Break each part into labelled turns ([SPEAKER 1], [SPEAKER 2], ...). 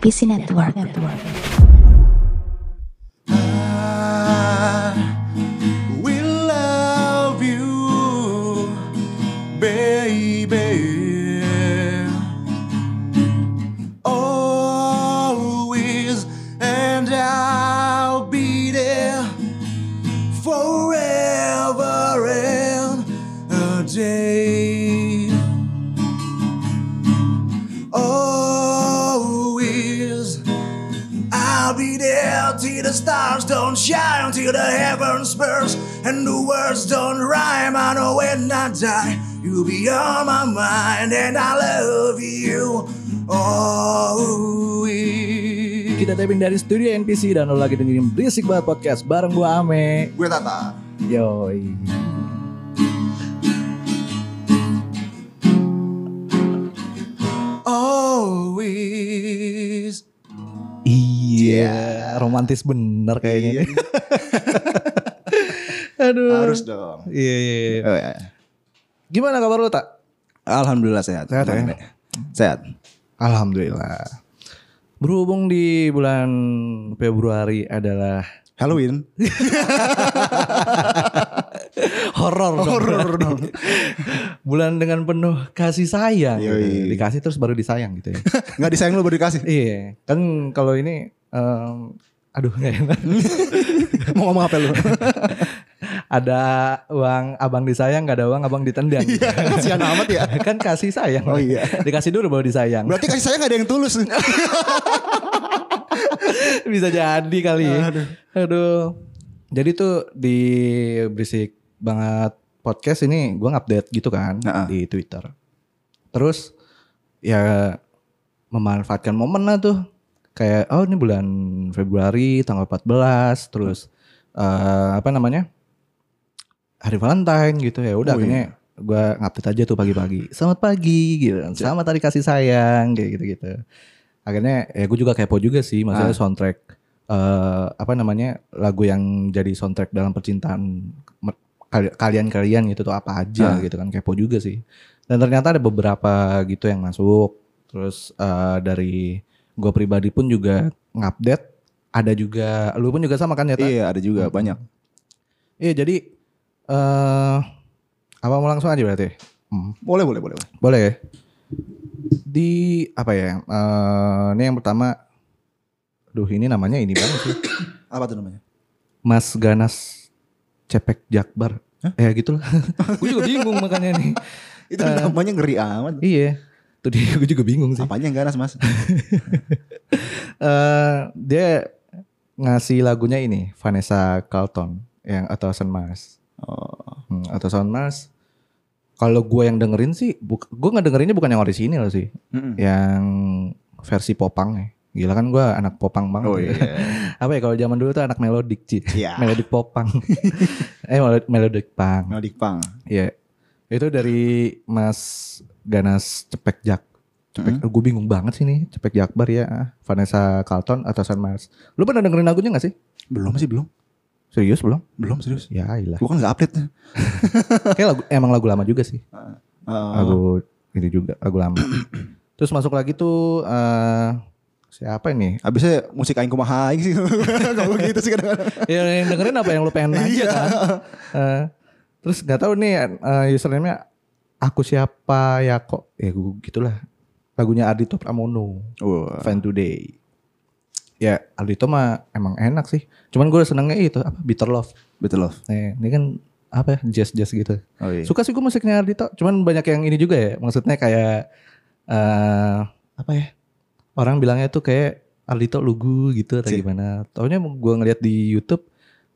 [SPEAKER 1] PC Network.
[SPEAKER 2] We love you, baby. Always, and I'll be there forever and a day. Always. I'll be there till the stars don't shine, till the heavens burst and the words don't rhyme. I know when I die, you'll be on my mind, and I love you Oh, always.
[SPEAKER 3] Kita taping dari studio NPC dan lo lagi dengerin Berisik Banget Podcast bareng gua Ame.
[SPEAKER 2] Gue Tata.
[SPEAKER 3] Yoi.
[SPEAKER 2] Always.
[SPEAKER 3] Iya, romantis bener kayaknya. Aduh.
[SPEAKER 2] Harus dong.
[SPEAKER 3] Iya, iya, iya.
[SPEAKER 2] Oh, ya.
[SPEAKER 3] Gimana kabar lo tak?
[SPEAKER 2] Alhamdulillah sehat.
[SPEAKER 3] Sehat, ya?
[SPEAKER 2] Sehat.
[SPEAKER 3] Alhamdulillah. Berhubung di bulan Februari adalah
[SPEAKER 2] Halloween. Oh,
[SPEAKER 3] horor dong. berarti. bulan dengan penuh kasih sayang. gitu.
[SPEAKER 2] Yoi.
[SPEAKER 3] Dikasih terus baru disayang gitu ya.
[SPEAKER 2] Nggak disayang lu baru dikasih.
[SPEAKER 3] iya, kan kalau ini em, aduh gak enak.
[SPEAKER 2] Mau ngomong apa lu?
[SPEAKER 3] ada uang abang disayang, gak ada uang abang ditendang.
[SPEAKER 2] Iya, Kasihan amat ya.
[SPEAKER 3] kan kasih sayang.
[SPEAKER 2] Oh iya.
[SPEAKER 3] Dikasih dulu baru disayang.
[SPEAKER 2] Berarti kasih sayang gak ada yang tulus.
[SPEAKER 3] Bisa jadi kali. ya.
[SPEAKER 2] Aduh.
[SPEAKER 3] Aduh. Jadi tuh di berisik banget podcast ini gue update gitu kan
[SPEAKER 2] Nah, ah.
[SPEAKER 3] di Twitter. Terus ya memanfaatkan momen lah tuh. Kayak oh ini bulan Februari tanggal 14 terus eh, apa namanya? Hari Valentine gitu ya.
[SPEAKER 2] Oh,
[SPEAKER 3] Udah akhirnya gue update aja tuh pagi-pagi. Selamat pagi gitu. Selamat hari kasih sayang kayak gitu-gitu. Akhirnya ya gue juga kepo juga sih maksudnya soundtrack eh apa namanya lagu yang jadi soundtrack dalam percintaan mer- kal- kalian-kalian gitu tuh apa aja gitu kan kepo juga sih dan ternyata ada beberapa gitu yang masuk terus eh, dari gue pribadi pun juga ngupdate ada juga lu pun juga sama kan ya Ta?
[SPEAKER 2] Iya ada juga banyak.
[SPEAKER 3] iya jadi eh apa mau langsung aja berarti Hmm.
[SPEAKER 2] Boleh boleh boleh.
[SPEAKER 3] Boleh ya? Di apa ya? eh, ini yang pertama. Duh, ini namanya ini banget sih.
[SPEAKER 2] Apa tuh namanya?
[SPEAKER 3] Mas Ganas Cepek Jakbar. Ya gitu lah. gue juga bingung makanya nih.
[SPEAKER 2] Itu namanya ngeri amat.
[SPEAKER 3] Iya. Tuh dia gue juga bingung sih.
[SPEAKER 2] Apanya yang ganas mas?
[SPEAKER 3] Eh, dia ngasih lagunya ini Vanessa Carlton yang atau Mars.
[SPEAKER 2] Oh,
[SPEAKER 3] Hmm, atau Mars. Kalau gue yang dengerin sih, buk- gue nggak dengerinnya bukan yang orisinil sih,
[SPEAKER 2] Iya.
[SPEAKER 3] yang versi popangnya. Gila kan gue anak popang banget.
[SPEAKER 2] oh iya.
[SPEAKER 3] apa ya kalau zaman dulu tuh anak melodik sih
[SPEAKER 2] Iya.
[SPEAKER 3] melodik popang eh melo- melodik pang
[SPEAKER 2] Melodik pang.
[SPEAKER 3] Iya itu dari Mas Ganas Cepek Jak Cepek gue bingung banget sih nih Cepek Jakbar ya Vanessa Carlton atau San Mas lu pernah dengerin lagunya gak sih
[SPEAKER 2] Belum sih belum.
[SPEAKER 3] serius belum
[SPEAKER 2] Belum serius.
[SPEAKER 3] ya ilah
[SPEAKER 2] Gue kan nggak update.
[SPEAKER 3] kayak lagu emang lagu lama juga sih
[SPEAKER 2] Uh,
[SPEAKER 3] lagu itu juga lagu lama terus masuk lagi tuh eh, siapa ini
[SPEAKER 2] abisnya musik aing kumaha aing sih. Kalau gitu sih kadang-kadang.
[SPEAKER 3] ya yang dengerin apa yang lu pengen nanya
[SPEAKER 2] Iya.
[SPEAKER 3] kan Eh, terus nggak tahu nih eh, username-nya aku siapa ya kok ya gue gitulah lagunya Ardito Pramono
[SPEAKER 2] Wah.
[SPEAKER 3] Fan Today ya Ardito mah emang enak sih cuman gue senengnya itu apa Bitter Love
[SPEAKER 2] Betul love.
[SPEAKER 3] Eh, ini kan apa ya jazz jazz gitu
[SPEAKER 2] Oh iya.
[SPEAKER 3] suka sih gue musiknya Ardito cuman banyak yang ini juga ya maksudnya kayak eh apa ya orang bilangnya tuh kayak Ardito lugu gitu atau
[SPEAKER 2] Sih.
[SPEAKER 3] gimana taunya gue ngeliat di YouTube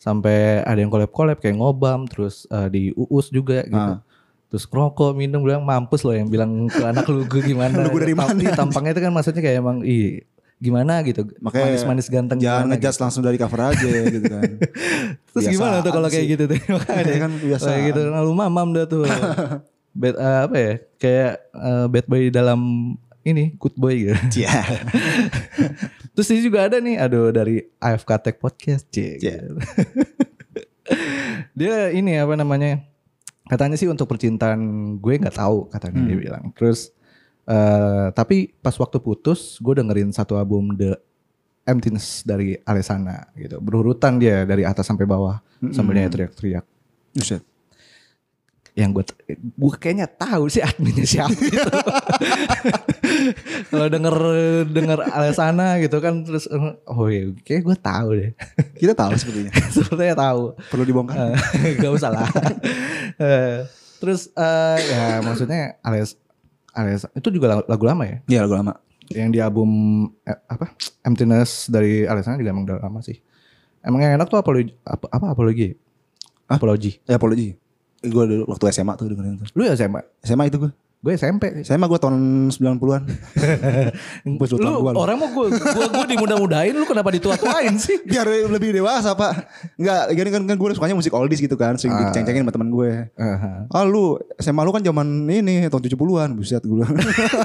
[SPEAKER 3] sampai ada yang collab collab kayak ngobam terus eh, di uus juga gitu
[SPEAKER 2] Ah.
[SPEAKER 3] terus rokok minum bilang mampus loh yang bilang ke anak lugu gimana
[SPEAKER 2] Lugu dari
[SPEAKER 3] Tapi
[SPEAKER 2] mana?
[SPEAKER 3] tampangnya itu kan maksudnya kayak emang ih gimana gitu
[SPEAKER 2] Makanya
[SPEAKER 3] manis-manis ganteng
[SPEAKER 2] Jangan
[SPEAKER 3] gimana
[SPEAKER 2] ngejas
[SPEAKER 3] gitu.
[SPEAKER 2] langsung dari cover aja gitu kan.
[SPEAKER 3] terus gimana tuh kalau kayak gitu tuh
[SPEAKER 2] Ada
[SPEAKER 3] Makanya.
[SPEAKER 2] kan biasa.
[SPEAKER 3] Kayak gitu lalu mamam dah tuh. bad eh, apa ya? Kayak eh, bad boy dalam ini good boy gitu.
[SPEAKER 2] Iya.
[SPEAKER 3] Terus ini juga ada nih aduh dari AFK Tech Podcast. Cik.
[SPEAKER 2] Iya.
[SPEAKER 3] dia ini apa
[SPEAKER 2] Hmm.
[SPEAKER 3] namanya? Katanya sih untuk percintaan gue nggak tahu katanya dia bilang. Terus Eh, tapi pas waktu putus, gue dengerin satu album The Emptiness dari Alessana gitu. Berurutan dia dari atas sampai bawah
[SPEAKER 2] Hmm.
[SPEAKER 3] sambil dia teriak-teriak.
[SPEAKER 2] Buset.
[SPEAKER 3] Yang gue gue kayaknya tahu sih adminnya siapa gitu. Kalau denger denger Alessana gitu kan terus eh, oh iya kayak gue tahu deh.
[SPEAKER 2] Kita tahu sebetulnya.
[SPEAKER 3] Sepertinya tahu.
[SPEAKER 2] Perlu dibongkar.
[SPEAKER 3] Eh, Gak usah lah. Eh, Terus eh, ya maksudnya Ales Ales itu juga lagu, lagu lama ya.
[SPEAKER 2] Iya lagu lama.
[SPEAKER 3] Yang di album eh, apa Emptiness dari Alesana juga emang udah lama sih. Emang yang enak tuh apologi apa, apa apologi?
[SPEAKER 2] Hah?
[SPEAKER 3] Apologi.
[SPEAKER 2] Ya apologi. Gue dulu waktu SMA tuh dengerin tuh.
[SPEAKER 3] Lu ya SMA?
[SPEAKER 2] SMA itu gue.
[SPEAKER 3] Gue SMP.
[SPEAKER 2] SMA gue tahun 90-an. Bos lu
[SPEAKER 3] Lu
[SPEAKER 2] tahun gua lu.
[SPEAKER 3] orang mau gue gue gue dimudah-mudahin lu kenapa ditua-tuain sih?
[SPEAKER 2] Biar lebih dewasa pak. Enggak, gini kan, kan gue sukanya musik oldies gitu kan. Sering diceng-cengin sama temen gue.
[SPEAKER 3] Aha.
[SPEAKER 2] Ah lu SMA lu kan zaman ini tahun 70-an buset gue.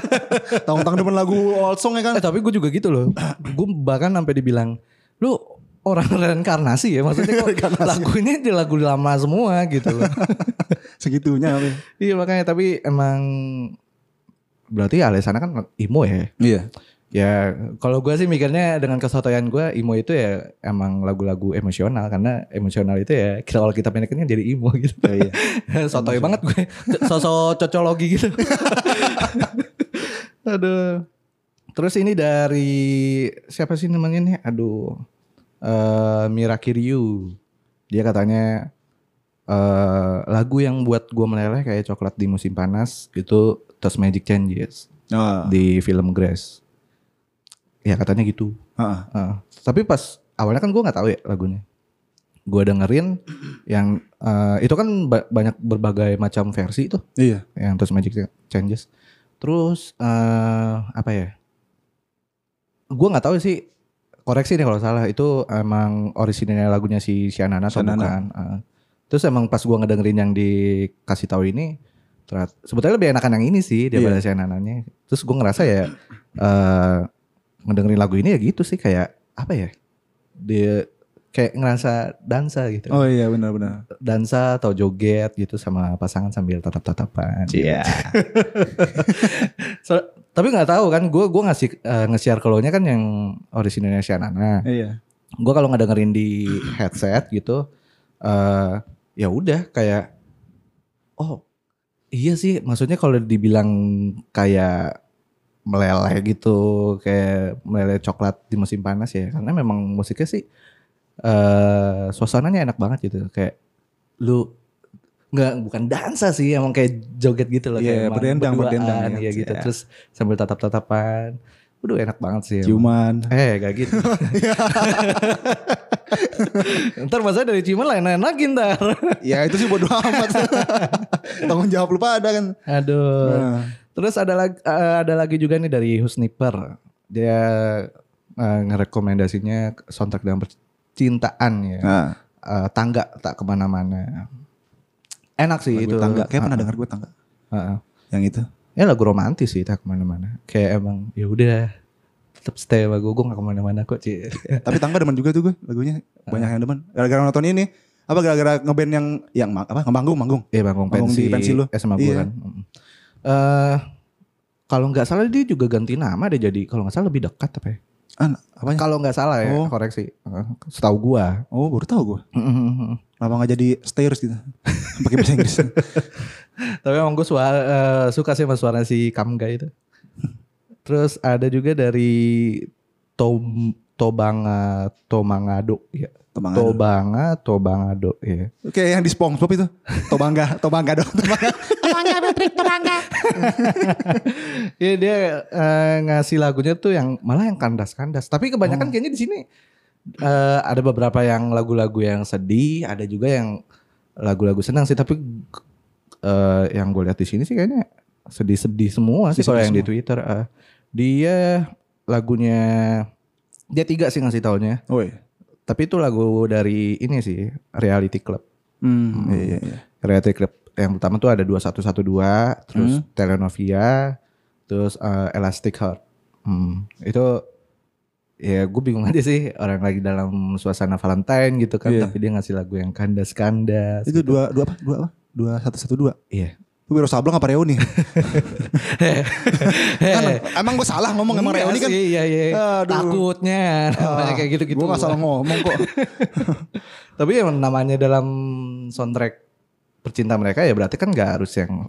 [SPEAKER 2] Tahun-tahun depan lagu old song ya kan.
[SPEAKER 3] Eh tapi gue juga gitu loh. gue bahkan sampai dibilang, lu orang reinkarnasi ya maksudnya kok lagunya di lagu lama semua gitu loh.
[SPEAKER 2] Segitunya.
[SPEAKER 3] Iya makanya tapi emang berarti Alesana kan emo ya.
[SPEAKER 2] Iya.
[SPEAKER 3] Ya kalau gue sih mikirnya dengan kesotoyan gue emo itu ya emang lagu-lagu emosional karena emosional itu ya kita kalau kita pendeknya jadi emo gitu.
[SPEAKER 2] iya.
[SPEAKER 3] Sotoy banget gue, C- sosok cocologi gitu. Aduh. Terus ini dari siapa sih namanya nih? Aduh. eh Mira Kiryu. Dia katanya eh lagu yang buat gue meleleh kayak coklat di musim panas itu Touch Magic Changes
[SPEAKER 2] Nah,
[SPEAKER 3] di film Grace. Ya katanya gitu.
[SPEAKER 2] heeh.
[SPEAKER 3] Heeh. tapi pas awalnya kan gue nggak tahu ya lagunya. Gue dengerin yang eh, itu kan ba- banyak berbagai macam versi tuh
[SPEAKER 2] iya.
[SPEAKER 3] yang terus Magic Changes. Terus eh apa ya? Gue nggak tahu sih. Koreksi nih kalau salah itu emang orisinalnya lagunya si Shanana atau
[SPEAKER 2] Shanana.
[SPEAKER 3] bukan. Eh, terus emang pas gue ngedengerin yang dikasih tahu ini ternyata sebetulnya lebih enakan yang ini sih daripada Shanananya. Terus gue ngerasa ya eh ngedengerin lagu ini ya gitu sih kayak apa ya? Dia kayak ngerasa dansa gitu
[SPEAKER 2] Oh iya benar-benar.
[SPEAKER 3] dansa atau joget gitu sama pasangan sambil tatap-tatapan. Iya. tapi nggak tahu kan, gue gua ngasih eh, nge-share keluarnya kan yang orisinalnya Shanana.
[SPEAKER 2] Iya.
[SPEAKER 3] Gue kalau ngedengerin di headset gitu, eh ya udah kayak, oh iya sih, maksudnya kalau dibilang kayak meleleh gitu, kayak meleleh coklat di musim panas ya, karena memang musiknya sih eh suasananya enak banget gitu, kayak lu nggak bukan dansa sih emang kayak joget gitu loh
[SPEAKER 2] Iya,
[SPEAKER 3] kayak emang
[SPEAKER 2] berdendang,
[SPEAKER 3] berduaan,
[SPEAKER 2] berdendang ya.
[SPEAKER 3] ya gitu
[SPEAKER 2] Iya.
[SPEAKER 3] terus sambil tatap tatapan Waduh enak banget sih emang.
[SPEAKER 2] Cuman
[SPEAKER 3] Eh gak gitu Ntar masa dari ciuman lain-lain lagi ntar
[SPEAKER 2] ya itu sih bodo amat. Tanggung jawab lu pada kan.
[SPEAKER 3] Aduh
[SPEAKER 2] Nah,
[SPEAKER 3] Terus ada lagi, ada lagi juga nih dari Husniper Dia eh, ngerekomendasinya soundtrack dalam percintaan ya
[SPEAKER 2] nah
[SPEAKER 3] Eh, Tangga tak kemana-mana Enak sih
[SPEAKER 2] lagu
[SPEAKER 3] itu
[SPEAKER 2] tangga. Kayak pernah
[SPEAKER 3] Ah,
[SPEAKER 2] denger gue tangga.
[SPEAKER 3] ah, ah.
[SPEAKER 2] Yang itu.
[SPEAKER 3] Ya lagu romantis sih tak kemana-mana Kayak emang ya udah tetap stay sama gue, gue gak kemana-mana kok Ci.
[SPEAKER 2] Tapi tangga demen juga tuh gue lagunya. Banyak yang demen. Gara-gara nonton ini apa gara-gara ngeband yang yang ma- apa manggung manggung
[SPEAKER 3] Iya Bangkong
[SPEAKER 2] Bangkong di
[SPEAKER 3] pensi,
[SPEAKER 2] pensi lu.
[SPEAKER 3] Eh, sama gue
[SPEAKER 2] Iya.
[SPEAKER 3] kan. Mm. Eh, kalau nggak salah dia juga ganti nama deh jadi kalau nggak salah lebih dekat apa ya?
[SPEAKER 2] ah apanya
[SPEAKER 3] Kalau nggak salah ya
[SPEAKER 2] Oh.
[SPEAKER 3] koreksi. Eh, Setahu gua.
[SPEAKER 2] oh baru tahu gue kenapa nggak jadi stairs gitu pakai bahasa Inggris
[SPEAKER 3] Tapi emang gue suara, eh, suka sih sama suara si Kamga itu. Terus ada juga dari Tom Tobanga Tomangado ya.
[SPEAKER 2] Tobangado.
[SPEAKER 3] Tobanga Tobangado ya.
[SPEAKER 2] Oke yang di SpongeBob itu Tobangga Tobangga dong Tobangga
[SPEAKER 3] Iya dia eh, ngasih lagunya tuh yang malah yang kandas-kandas. Tapi kebanyakan kayaknya di sini eh, ada beberapa yang lagu-lagu yang sedih, ada juga yang lagu-lagu senang sih. Tapi eh, yang gue lihat di sini sih kayaknya sedih-sedih semua sih. Kalau
[SPEAKER 2] Sedih-sedih
[SPEAKER 3] yang di Twitter eh. dia lagunya dia tiga sih ngasih taunya.
[SPEAKER 2] oh iya
[SPEAKER 3] Tapi itu lagu dari ini sih Reality Club.
[SPEAKER 2] hmm, iya, iya.
[SPEAKER 3] Reality Club yang pertama tuh ada 2112, terus
[SPEAKER 2] Hmm.
[SPEAKER 3] Telenovia, terus eh, Elastic Heart. Hmm, itu ya gue bingung aja sih orang lagi dalam suasana Valentine gitu kan,
[SPEAKER 2] Iya.
[SPEAKER 3] tapi dia ngasih lagu yang kandas-kandas.
[SPEAKER 2] itu dua dua apa dua apa dua satu satu dua
[SPEAKER 3] Iya.
[SPEAKER 2] Lu Wiro Sableng apa Reuni? kan, emang gue salah ngomong emang
[SPEAKER 3] Enggak
[SPEAKER 2] Reuni kan.
[SPEAKER 3] sih, iya, iya.
[SPEAKER 2] Aduh.
[SPEAKER 3] Takutnya namanya kayak gitu-gitu.
[SPEAKER 2] Gue gak Oh. salah ngomong kok.
[SPEAKER 3] Tapi yang namanya dalam soundtrack percinta mereka ya berarti kan nggak harus yang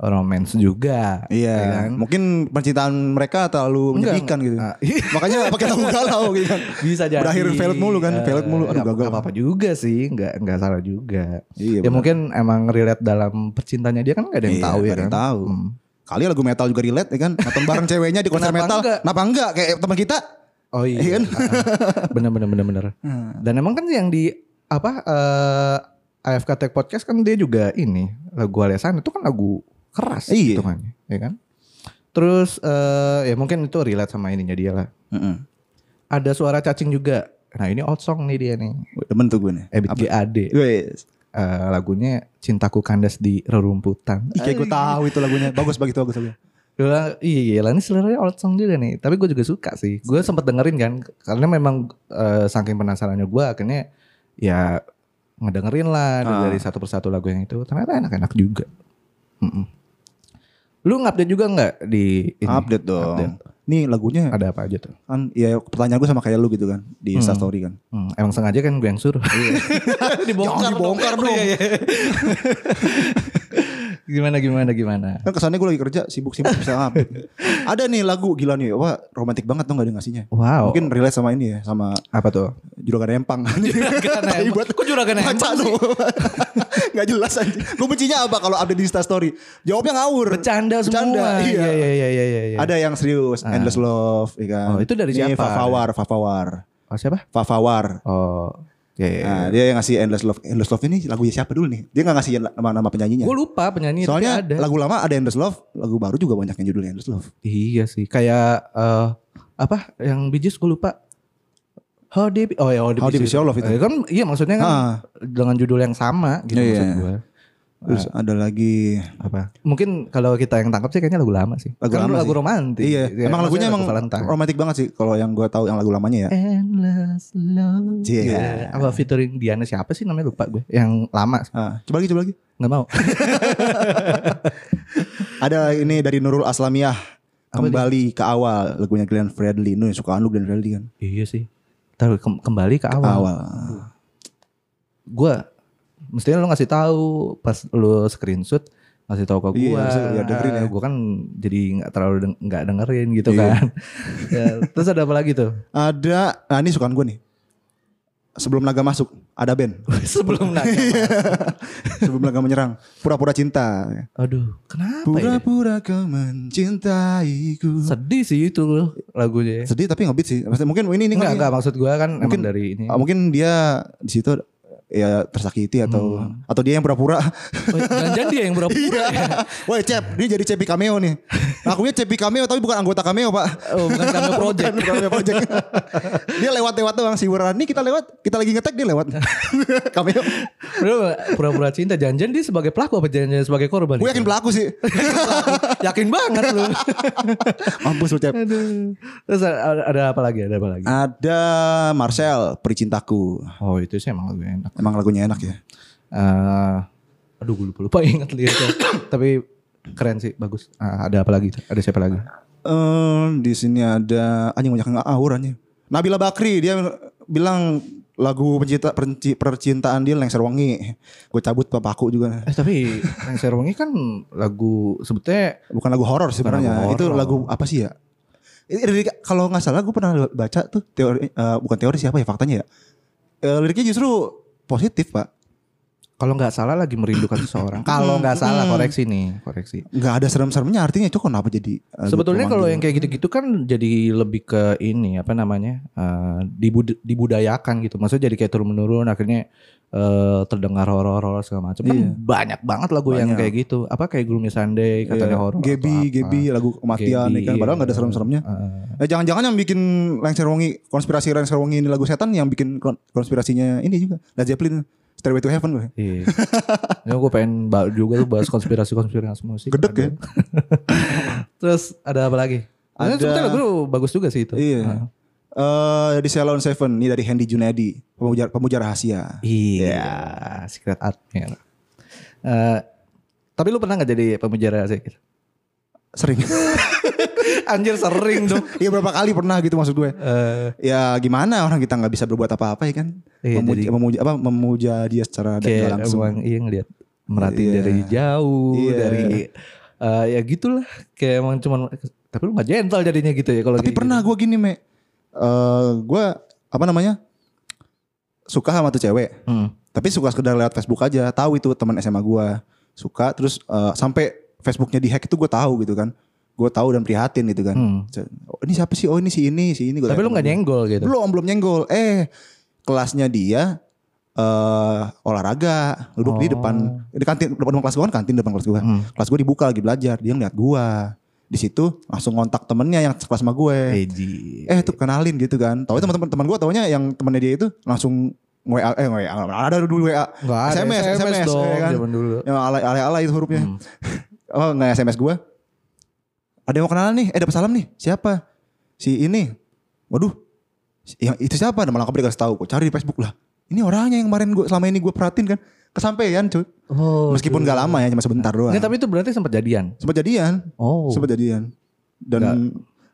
[SPEAKER 3] romance juga.
[SPEAKER 2] Iya.
[SPEAKER 3] ya kan?
[SPEAKER 2] Mungkin percintaan mereka terlalu
[SPEAKER 3] Enggak,
[SPEAKER 2] menyedihkan gitu.
[SPEAKER 3] enggak.
[SPEAKER 2] Makanya pakai lagu galau gitu kan.
[SPEAKER 3] Bisa jadi.
[SPEAKER 2] Berakhir velg mulu kan,
[SPEAKER 3] Eh,
[SPEAKER 2] velg mulu. Aduh
[SPEAKER 3] nggak-
[SPEAKER 2] gagal.
[SPEAKER 3] nggak apa-apa juga sih, nggak nggak salah juga.
[SPEAKER 2] Iya.
[SPEAKER 3] ya
[SPEAKER 2] benar.
[SPEAKER 3] mungkin emang relate dalam percintanya dia kan nggak ada yang
[SPEAKER 2] Iya,
[SPEAKER 3] tahu ya
[SPEAKER 2] nggak ada yang
[SPEAKER 3] kan?
[SPEAKER 2] tahu.
[SPEAKER 3] Hmm.
[SPEAKER 2] Kali lagu metal juga relate ya kan. Nonton bareng ceweknya di konser
[SPEAKER 3] Kenapa
[SPEAKER 2] metal.
[SPEAKER 3] enggak?
[SPEAKER 2] Kenapa enggak? Kayak teman kita.
[SPEAKER 3] Oh iya.
[SPEAKER 2] Iya kan?
[SPEAKER 3] Ah, bener bener bener bener. Dan emang kan yang di apa eh, AFK Tech Podcast kan dia juga ini lagu Alesan itu kan lagu keras
[SPEAKER 2] Iya.
[SPEAKER 3] hitungannya, ya kan? Terus eh, ya mungkin itu relate sama ininya dia lah.
[SPEAKER 2] Heeh.
[SPEAKER 3] Ada suara cacing juga. Nah ini old song nih dia nih.
[SPEAKER 2] Demen tuh gue nih.
[SPEAKER 3] Ebit
[SPEAKER 2] Apa?
[SPEAKER 3] GAD.
[SPEAKER 2] Wes.
[SPEAKER 3] Eh, lagunya Cintaku Kandas di Rerumputan.
[SPEAKER 2] Ih, kayak gue tahu itu lagunya. Bagus bagi itu bagus. bagus.
[SPEAKER 3] Gua, iya, lah ini sebenarnya old song juga nih. Tapi gue juga suka sih. Gue sempet dengerin kan, karena memang eh, saking penasarannya gue, akhirnya ya ngedengerin lah
[SPEAKER 2] Ah.
[SPEAKER 3] dari satu persatu lagu yang itu. Ternyata enak-enak juga. Mm-mm. Lu ngupdate juga nggak di ini?
[SPEAKER 2] Update dong.
[SPEAKER 3] Update.
[SPEAKER 2] Nih lagunya
[SPEAKER 3] Ada apa aja tuh?
[SPEAKER 2] kan ya pertanyaan gue sama kayak lu gitu kan di
[SPEAKER 3] Hmm.
[SPEAKER 2] Insta story kan.
[SPEAKER 3] Hmm, emang sengaja kan gue yang suruh.
[SPEAKER 2] Jangan Iya. dibongkar dong. Oh,
[SPEAKER 3] Iya, iya. gimana gimana gimana?
[SPEAKER 2] Kan kesannya gue lagi kerja sibuk-sibuk bisa update. Ada nih lagu gila nih. Wah, romantis banget tuh gak ada ngasihnya.
[SPEAKER 3] Wow.
[SPEAKER 2] Mungkin relate sama ini ya, sama
[SPEAKER 3] apa tuh?
[SPEAKER 2] juragan empang. juragan
[SPEAKER 3] Juragan Empang. Kok Juragan Empang
[SPEAKER 2] Baca
[SPEAKER 3] sih?
[SPEAKER 2] dong. Gak jelas anjing. Gue bencinya apa kalau update di Insta story? Jawabnya ngawur.
[SPEAKER 3] Bercanda semua.
[SPEAKER 2] Iya.
[SPEAKER 3] iya iya iya iya. iya.
[SPEAKER 2] Ada yang serius, Endless Love, ya kan?
[SPEAKER 3] Oh, itu dari
[SPEAKER 2] Ini
[SPEAKER 3] siapa?
[SPEAKER 2] Fafawar, Fafawar,
[SPEAKER 3] Oh, siapa?
[SPEAKER 2] Fafawar.
[SPEAKER 3] Oh, iya. iya, iya.
[SPEAKER 2] Nah, dia yang ngasih Endless Love. Endless Love ini lagunya siapa dulu nih? Dia gak ngasih nama-nama penyanyinya.
[SPEAKER 3] Gue lupa penyanyi tapi
[SPEAKER 2] Soalnya
[SPEAKER 3] ada.
[SPEAKER 2] lagu lama ada Endless Love, lagu baru juga banyak yang judulnya Endless Love.
[SPEAKER 3] Iya sih, kayak eh, apa yang bijis gue lupa. How deep? Oh ya, how deep,
[SPEAKER 2] How Deep Is Your Love itu.
[SPEAKER 3] Eh, kan, iya maksudnya kan
[SPEAKER 2] Ah.
[SPEAKER 3] dengan judul yang sama gitu
[SPEAKER 2] Iya,
[SPEAKER 3] maksud
[SPEAKER 2] iya.
[SPEAKER 3] gue.
[SPEAKER 2] Terus
[SPEAKER 3] Ah.
[SPEAKER 2] ada lagi
[SPEAKER 3] Apa? Mungkin kalau kita yang tangkap sih kayaknya lagu lama sih.
[SPEAKER 2] Lagu
[SPEAKER 3] Kan
[SPEAKER 2] lama
[SPEAKER 3] lagu
[SPEAKER 2] sih.
[SPEAKER 3] romantis.
[SPEAKER 2] Iya,
[SPEAKER 3] Ya,
[SPEAKER 2] emang lagunya
[SPEAKER 3] maksudnya
[SPEAKER 2] emang
[SPEAKER 3] lagu Valentine.
[SPEAKER 2] romantis banget sih kalau yang gue tahu yang lagu lamanya ya.
[SPEAKER 3] Endless love.
[SPEAKER 2] Iya.
[SPEAKER 3] Iya. Apa featuring Diana siapa sih namanya lupa gue. Yang lama
[SPEAKER 2] Ah, coba lagi, coba lagi.
[SPEAKER 3] nggak mau.
[SPEAKER 2] Ada ini dari Nurul Aslamiah
[SPEAKER 3] Apa
[SPEAKER 2] kembali ke awal lagunya Glenn Fredly. Nuh, suka lu Glenn Fredly kan?
[SPEAKER 3] iya sih. Taruh kembali ke awal.
[SPEAKER 2] Awal.
[SPEAKER 3] gue mestinya lo ngasih tahu pas lo screenshot ngasih tahu ke
[SPEAKER 2] Iya,
[SPEAKER 3] gue
[SPEAKER 2] harusnya biar dengerin ya.
[SPEAKER 3] gue kan jadi nggak terlalu deng- nggak dengerin gitu
[SPEAKER 2] Iya.
[SPEAKER 3] kan Ya, terus ada apa lagi tuh
[SPEAKER 2] Ada, nah ini sukaan gue nih. Sebelum naga masuk, ada band.
[SPEAKER 3] sebelum nanya
[SPEAKER 2] Sebelum naga menyerang, pura-pura cinta.
[SPEAKER 3] aduh kenapa ya
[SPEAKER 2] Pura-pura kau mencintaiku.
[SPEAKER 3] sedih sih itu lagunya
[SPEAKER 2] Sedih tapi ngebeat sih. Maksudnya Mungkin ini ini kali
[SPEAKER 3] enggak
[SPEAKER 2] ya.
[SPEAKER 3] enggak maksud gue kan
[SPEAKER 2] Mungkin-
[SPEAKER 3] emang dari ini
[SPEAKER 2] Ah, mungkin dia di situ ya tersakiti atau
[SPEAKER 3] Hmm.
[SPEAKER 2] atau dia yang pura-pura.
[SPEAKER 3] Oh, jangan-jangan dia yang berapa
[SPEAKER 2] Iya. Woi Cep, dia jadi Cepi cameo nih. Lakunya Cepi cameo tapi bukan anggota cameo pak.
[SPEAKER 3] oh, bukan karena project
[SPEAKER 2] Bukan, bukan cameo project. dia lewat-lewat doang si Wuran. Nih kita lewat, kita lagi ngetek dia lewat. cameo.
[SPEAKER 3] Lu pura-pura cinta jangan-jangan dia sebagai pelaku apa jangan-jangan sebagai korban
[SPEAKER 2] Gue yakin pelaku sih.
[SPEAKER 3] yakin banget lu
[SPEAKER 2] Mampus lu Cep.
[SPEAKER 3] aduh terus ada, ada apa lagi ada apa lagi
[SPEAKER 2] Ada Marcel, pericintaku.
[SPEAKER 3] oh itu sih emang lebih enak
[SPEAKER 2] Emang lagunya enak ya.
[SPEAKER 3] Eh, aduh gue lupa lupa ingat liriknya. Tapi keren sih, bagus. Ah, ada apa lagi? Ada siapa lagi?
[SPEAKER 2] Eh di sini ada anjing banyak nggak aur anjing. Nabila Bakri dia bilang lagu pencinta perci- percintaan dia lengser wangi. Gue cabut papaku juga.
[SPEAKER 3] Eh tapi yang Serwangi kan lagu sebetulnya
[SPEAKER 2] Bukan lagu horor sebenarnya.
[SPEAKER 3] lagu
[SPEAKER 2] Itu
[SPEAKER 3] horor.
[SPEAKER 2] lagu apa sih ya? Ini lirik- kalau nggak salah gue pernah baca tuh teori eh, bukan teori siapa ya faktanya ya. Eh, liriknya justru positif pak.
[SPEAKER 3] kalau nggak salah lagi merindukan seseorang. Kalau nggak salah koreksi nih, koreksi.
[SPEAKER 2] Nggak ada serem-seremnya artinya itu kenapa jadi? eh,
[SPEAKER 3] Sebetulnya
[SPEAKER 2] romantis?
[SPEAKER 3] kalau yang kayak gitu-gitu kan jadi lebih ke ini apa namanya eh, dibud- dibudayakan gitu. Maksudnya jadi kayak turun menurun akhirnya eh, terdengar horor-horor segala macam. Kan
[SPEAKER 2] Iya.
[SPEAKER 3] banyak banget lagu yang
[SPEAKER 2] Banyak.
[SPEAKER 3] kayak gitu. Apa kayak Gloomy Sunday
[SPEAKER 2] Iya,
[SPEAKER 3] katanya horor.
[SPEAKER 2] Gebi,
[SPEAKER 3] atau apa.
[SPEAKER 2] Gebi, lagu kematian
[SPEAKER 3] Gebi,
[SPEAKER 2] ya kan. Padahal nggak ada
[SPEAKER 3] iya.
[SPEAKER 2] serem-seremnya.
[SPEAKER 3] Eh,
[SPEAKER 2] Nah, jangan-jangan yang bikin Lengser Wongi, konspirasi Lengser Wongi ini lagu setan yang bikin kon- konspirasinya ini juga. Led Zeppelin, Stairway to Heaven gue.
[SPEAKER 3] Iya. Ya, gue pengen ba- juga tuh bahas konspirasi-konspirasi musik.
[SPEAKER 2] Gedek ya.
[SPEAKER 3] Terus ada apa lagi?
[SPEAKER 2] Ada-
[SPEAKER 3] Ada. Sebetulnya lagu lu bagus juga sih itu. Ah.
[SPEAKER 2] Iya. Eh di Salon Seven, ini dari Hendy Junedi, pemuja, pemuja rahasia.
[SPEAKER 3] Iya. Secret Admiral. ya. Eh, Tapi lu pernah nggak jadi pembicara sih?
[SPEAKER 2] Sering.
[SPEAKER 3] Anjir sering dong.
[SPEAKER 2] Iya berapa kali pernah gitu maksud gue.
[SPEAKER 3] Eh,
[SPEAKER 2] Ya gimana orang kita nggak bisa berbuat apa-apa ya kan?
[SPEAKER 3] Iya,
[SPEAKER 2] memuja,
[SPEAKER 3] jadi-
[SPEAKER 2] memuja- apa memuja dia secara dan nggak
[SPEAKER 3] kayak
[SPEAKER 2] langsung.
[SPEAKER 3] emang iya ngeliat merhatiin
[SPEAKER 2] Iya.
[SPEAKER 3] dari jauh
[SPEAKER 2] Iya.
[SPEAKER 3] dari eh, ya gitulah kayak emang cuman tapi lu mah gentle jadinya gitu ya kalau
[SPEAKER 2] Tapi
[SPEAKER 3] kayak
[SPEAKER 2] pernah gue gini, Me. Eh, gue apa namanya? Suka sama tuh cewek.
[SPEAKER 3] gitu. Hmm.
[SPEAKER 2] Tapi suka sekedar lewat Facebook aja. Tahu itu teman SMA gue. Suka terus eh, sampai Facebooknya dihack itu gue tahu gitu kan. Gue tahu dan prihatin gitu kan.
[SPEAKER 3] Hmm.
[SPEAKER 2] Oh, ini siapa sih? Oh ini si ini, si ini. Gua
[SPEAKER 3] Tapi lu
[SPEAKER 2] liatin.
[SPEAKER 3] nggak nyenggol gitu.
[SPEAKER 2] Belum, belum nyenggol. Eh, kelasnya dia eh olahraga, duduk di
[SPEAKER 3] Oh.
[SPEAKER 2] depan di kantin depan rumah kelas gua kan kantin depan kelas gua.
[SPEAKER 3] Hmm.
[SPEAKER 2] Kelas gua dibuka lagi belajar, dia ngeliat gua. Di situ langsung kontak temennya yang sekelas sama
[SPEAKER 3] Iya.
[SPEAKER 2] gue.
[SPEAKER 3] Eji.
[SPEAKER 2] Eh, tuh kenalin gitu kan. Tahu
[SPEAKER 3] Iya.
[SPEAKER 2] teman-teman teman gua taunya yang temannya dia itu langsung WA eh WA ada dulu WA.
[SPEAKER 3] Eh, Nggak ada
[SPEAKER 2] SMS, SMS, ya
[SPEAKER 3] dong
[SPEAKER 2] kan?
[SPEAKER 3] zaman dulu.
[SPEAKER 2] Yang alay-alay itu hurufnya.
[SPEAKER 3] Hmm.
[SPEAKER 2] Oh nggak SMS gue. Ada yang mau kenalan nih. Eh dapat salam nih. Siapa? Si ini. Waduh. Yang itu siapa? Nama lengkapnya dikasih tahu. Gue cari di Facebook lah. Ini orangnya yang kemarin gue selama ini gue perhatiin kan. Kesampaian cuy.
[SPEAKER 3] Oh,
[SPEAKER 2] Meskipun
[SPEAKER 3] tuh.
[SPEAKER 2] gak lama ya cuma sebentar doang.
[SPEAKER 3] Nggak, tapi itu berarti sempat jadian.
[SPEAKER 2] Sempat jadian.
[SPEAKER 3] Oh.
[SPEAKER 2] Sempat jadian. Dan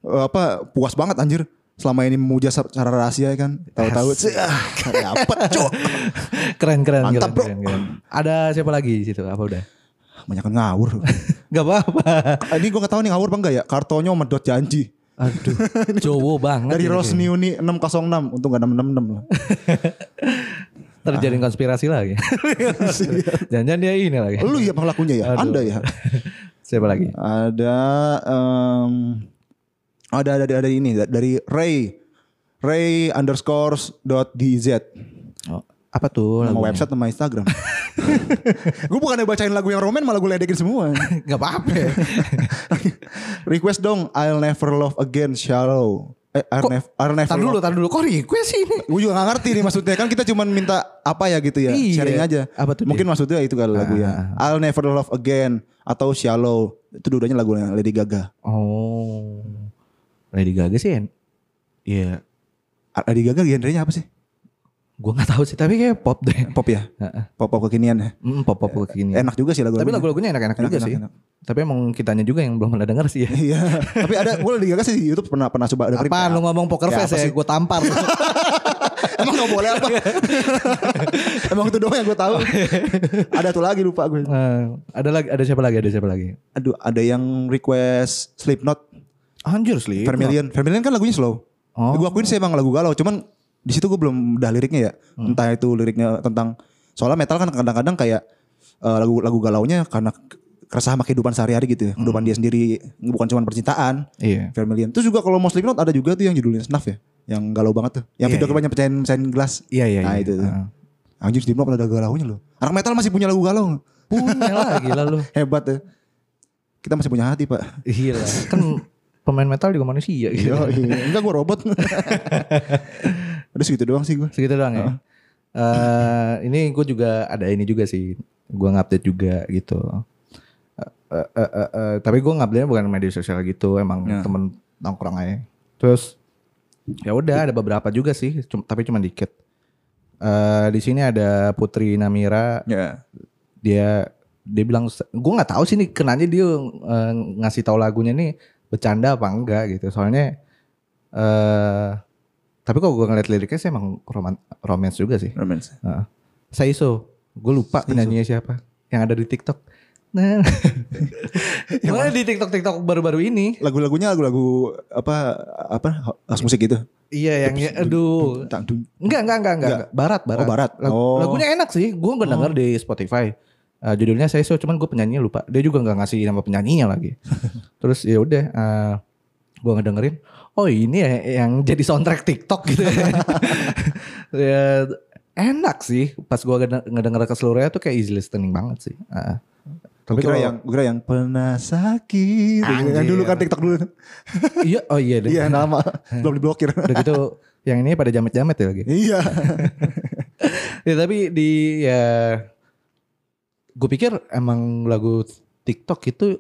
[SPEAKER 2] eh, apa puas banget anjir. Selama ini memuja secara rahasia ya kan. Tahu-tahu.
[SPEAKER 3] Asik.
[SPEAKER 2] Ah, dapet cuy.
[SPEAKER 3] keren keren
[SPEAKER 2] Mantap, bro.
[SPEAKER 3] keren, keren, keren. Ada siapa lagi di situ? Apa udah?
[SPEAKER 2] Banyak ngawur.
[SPEAKER 3] Gak apa-apa.
[SPEAKER 2] Eh, ini gue gak tahu nih ngawur apa enggak ya. Kartonya sama dot janji.
[SPEAKER 3] Aduh, cowok banget.
[SPEAKER 2] Dari
[SPEAKER 3] ini.
[SPEAKER 2] Rosniuni 606. Untung gak 666 lah.
[SPEAKER 3] Terjadi konspirasi lagi. Jangan-jangan dia ini lagi.
[SPEAKER 2] Lu ya pelakunya ya,
[SPEAKER 3] Aduh.
[SPEAKER 2] Anda ya.
[SPEAKER 3] Siapa lagi?
[SPEAKER 2] Ada em, ada ada ada ini da- dari Ray Ray underscores dot dz
[SPEAKER 3] Oh, apa tuh
[SPEAKER 2] sama
[SPEAKER 3] lagunya?
[SPEAKER 2] website sama Instagram. gue bukannya bacain lagu yang romen malah gue ledekin semua.
[SPEAKER 3] Gak apa-apa.
[SPEAKER 2] Request dong I'll never love again shallow. Eh, I'll,
[SPEAKER 3] Kok-
[SPEAKER 2] nev- I'll never
[SPEAKER 3] tar dulu, tar dulu. Kok request sih ini?
[SPEAKER 2] Gue juga gak ngerti nih maksudnya kan kita cuman minta apa ya gitu ya
[SPEAKER 3] Iya.
[SPEAKER 2] sharing aja.
[SPEAKER 3] Apa tuh Ah,
[SPEAKER 2] Mungkin maksudnya itu kali lagu ya. I'll never love again atau shallow itu dua-duanya lagu Lady Gaga.
[SPEAKER 3] Oh. Lady Gaga sih. en- Iya.
[SPEAKER 2] Lady Gaga genrenya apa sih?
[SPEAKER 3] Gue gak tahu sih, tapi kayak pop deh.
[SPEAKER 2] Pop ya?
[SPEAKER 3] Heeh.
[SPEAKER 2] Pop pop kekinian ya.
[SPEAKER 3] Mm, pop pop begini.
[SPEAKER 2] Enak juga sih lagu.
[SPEAKER 3] Tapi lagu-lagunya enak-enak
[SPEAKER 2] Enak,
[SPEAKER 3] juga
[SPEAKER 2] enak,
[SPEAKER 3] sih.
[SPEAKER 2] enak.
[SPEAKER 3] Tapi emang kitanya juga yang belum pernah denger sih ya.
[SPEAKER 2] Iya. Tapi ada gue Lady Gaga sih di YouTube pernah pernah coba dengerin.
[SPEAKER 3] Apaan lu ngomong poker
[SPEAKER 2] Ya, Iya,
[SPEAKER 3] face
[SPEAKER 2] apa
[SPEAKER 3] ya?
[SPEAKER 2] sih?
[SPEAKER 3] Gue tampar. lu.
[SPEAKER 2] Emang gak boleh apa? Emang itu doang yang gue
[SPEAKER 3] Oh,
[SPEAKER 2] tahu.
[SPEAKER 3] iya.
[SPEAKER 2] ada tuh lagi lupa gue.
[SPEAKER 3] Eh, ada lagi ada siapa lagi? Ada siapa lagi?
[SPEAKER 2] Aduh, ada yang request Slipknot,
[SPEAKER 3] Anjir sih.
[SPEAKER 2] Vermilion. Vermilion kan lagunya slow.
[SPEAKER 3] Oh.
[SPEAKER 2] Gue akuin sih emang lagu galau, cuman di situ gue belum dah liriknya ya.
[SPEAKER 3] Hmm.
[SPEAKER 2] Entah itu liriknya tentang soalnya metal kan kadang-kadang kayak eh, lagu lagu galaunya karena keresah sama kehidupan sehari-hari gitu ya. Kehidupan
[SPEAKER 3] Hmm.
[SPEAKER 2] dia sendiri bukan cuma percintaan.
[SPEAKER 3] Iya.
[SPEAKER 2] Vermilion. Terus juga kalau mau Slipknot ada juga tuh yang judulnya Snuff ya. Yang galau banget tuh. Yang
[SPEAKER 3] Iya,
[SPEAKER 2] video
[SPEAKER 3] iya.
[SPEAKER 2] kebanyakan pecahin pecahin gelas.
[SPEAKER 3] Iya iya.
[SPEAKER 2] Nah,
[SPEAKER 3] iya.
[SPEAKER 2] itu tuh.
[SPEAKER 3] Heeh.
[SPEAKER 2] Anjir Slipknot ada galaunya loh. Anak metal masih punya lagu galau.
[SPEAKER 3] Punya lah gila lu.
[SPEAKER 2] Hebat ya. Kita masih punya hati pak.
[SPEAKER 3] Gila. Kan pemain metal juga manusia gitu.
[SPEAKER 2] Yo, iya. Enggak gue robot. Udah segitu doang sih gue.
[SPEAKER 3] Segitu doang ya. Eh, ini gue juga ada ini juga sih. Gue ngupdate juga gitu. Eh, eh, eh, eh, eh, tapi gue ngupdate bukan media sosial gitu, emang
[SPEAKER 2] Ya.
[SPEAKER 3] temen nongkrong aja. Terus ya udah ada beberapa juga sih, cum- tapi cuma dikit. Eh, di sini ada Putri Namira
[SPEAKER 2] Ya.
[SPEAKER 3] dia dia bilang gue nggak tahu sih nih kenanya dia eh, ngasih tahu lagunya nih bercanda apa enggak gitu soalnya eh tapi kalau gue ngeliat liriknya sih emang roman romance juga sih
[SPEAKER 2] Romance.
[SPEAKER 3] Saiso gue lupa
[SPEAKER 2] Saiso.
[SPEAKER 3] penyanyinya siapa yang ada di TikTok nah Soalnya di TikTok TikTok baru-baru ini
[SPEAKER 2] Lagu-lagunya lagu-lagu apa apa house musik gitu.
[SPEAKER 3] iya yang aduh
[SPEAKER 2] Tang, dung.
[SPEAKER 3] Enggak, enggak, enggak, enggak. enggak. Barat,
[SPEAKER 2] Oh,
[SPEAKER 3] barat.
[SPEAKER 2] barat.
[SPEAKER 3] Lagu-
[SPEAKER 2] Oh.
[SPEAKER 3] Lagunya enak sih. Gue nggak denger di Spotify. Eh, judulnya saya cuman gue penyanyinya lupa. Dia juga nggak ngasih nama penyanyinya lagi. Terus ya udah, eh, gue ngedengerin. Oh ini ya yang jadi soundtrack TikTok gitu. ya, enak sih. Pas gue ngedenger keseluruhannya tuh kayak easy listening banget sih. Heeh.
[SPEAKER 2] Gue kira
[SPEAKER 3] kalau-
[SPEAKER 2] yang gue kira yang pernah sakit. Yang
[SPEAKER 3] Anjir.
[SPEAKER 2] dulu kan TikTok dulu.
[SPEAKER 3] iya, oh iya. deh.
[SPEAKER 2] Iya nama belum diblokir.
[SPEAKER 3] Udah gitu, yang ini pada jamet-jamet ya lagi.
[SPEAKER 2] Iya.
[SPEAKER 3] ya tapi di ya gue pikir emang lagu TikTok itu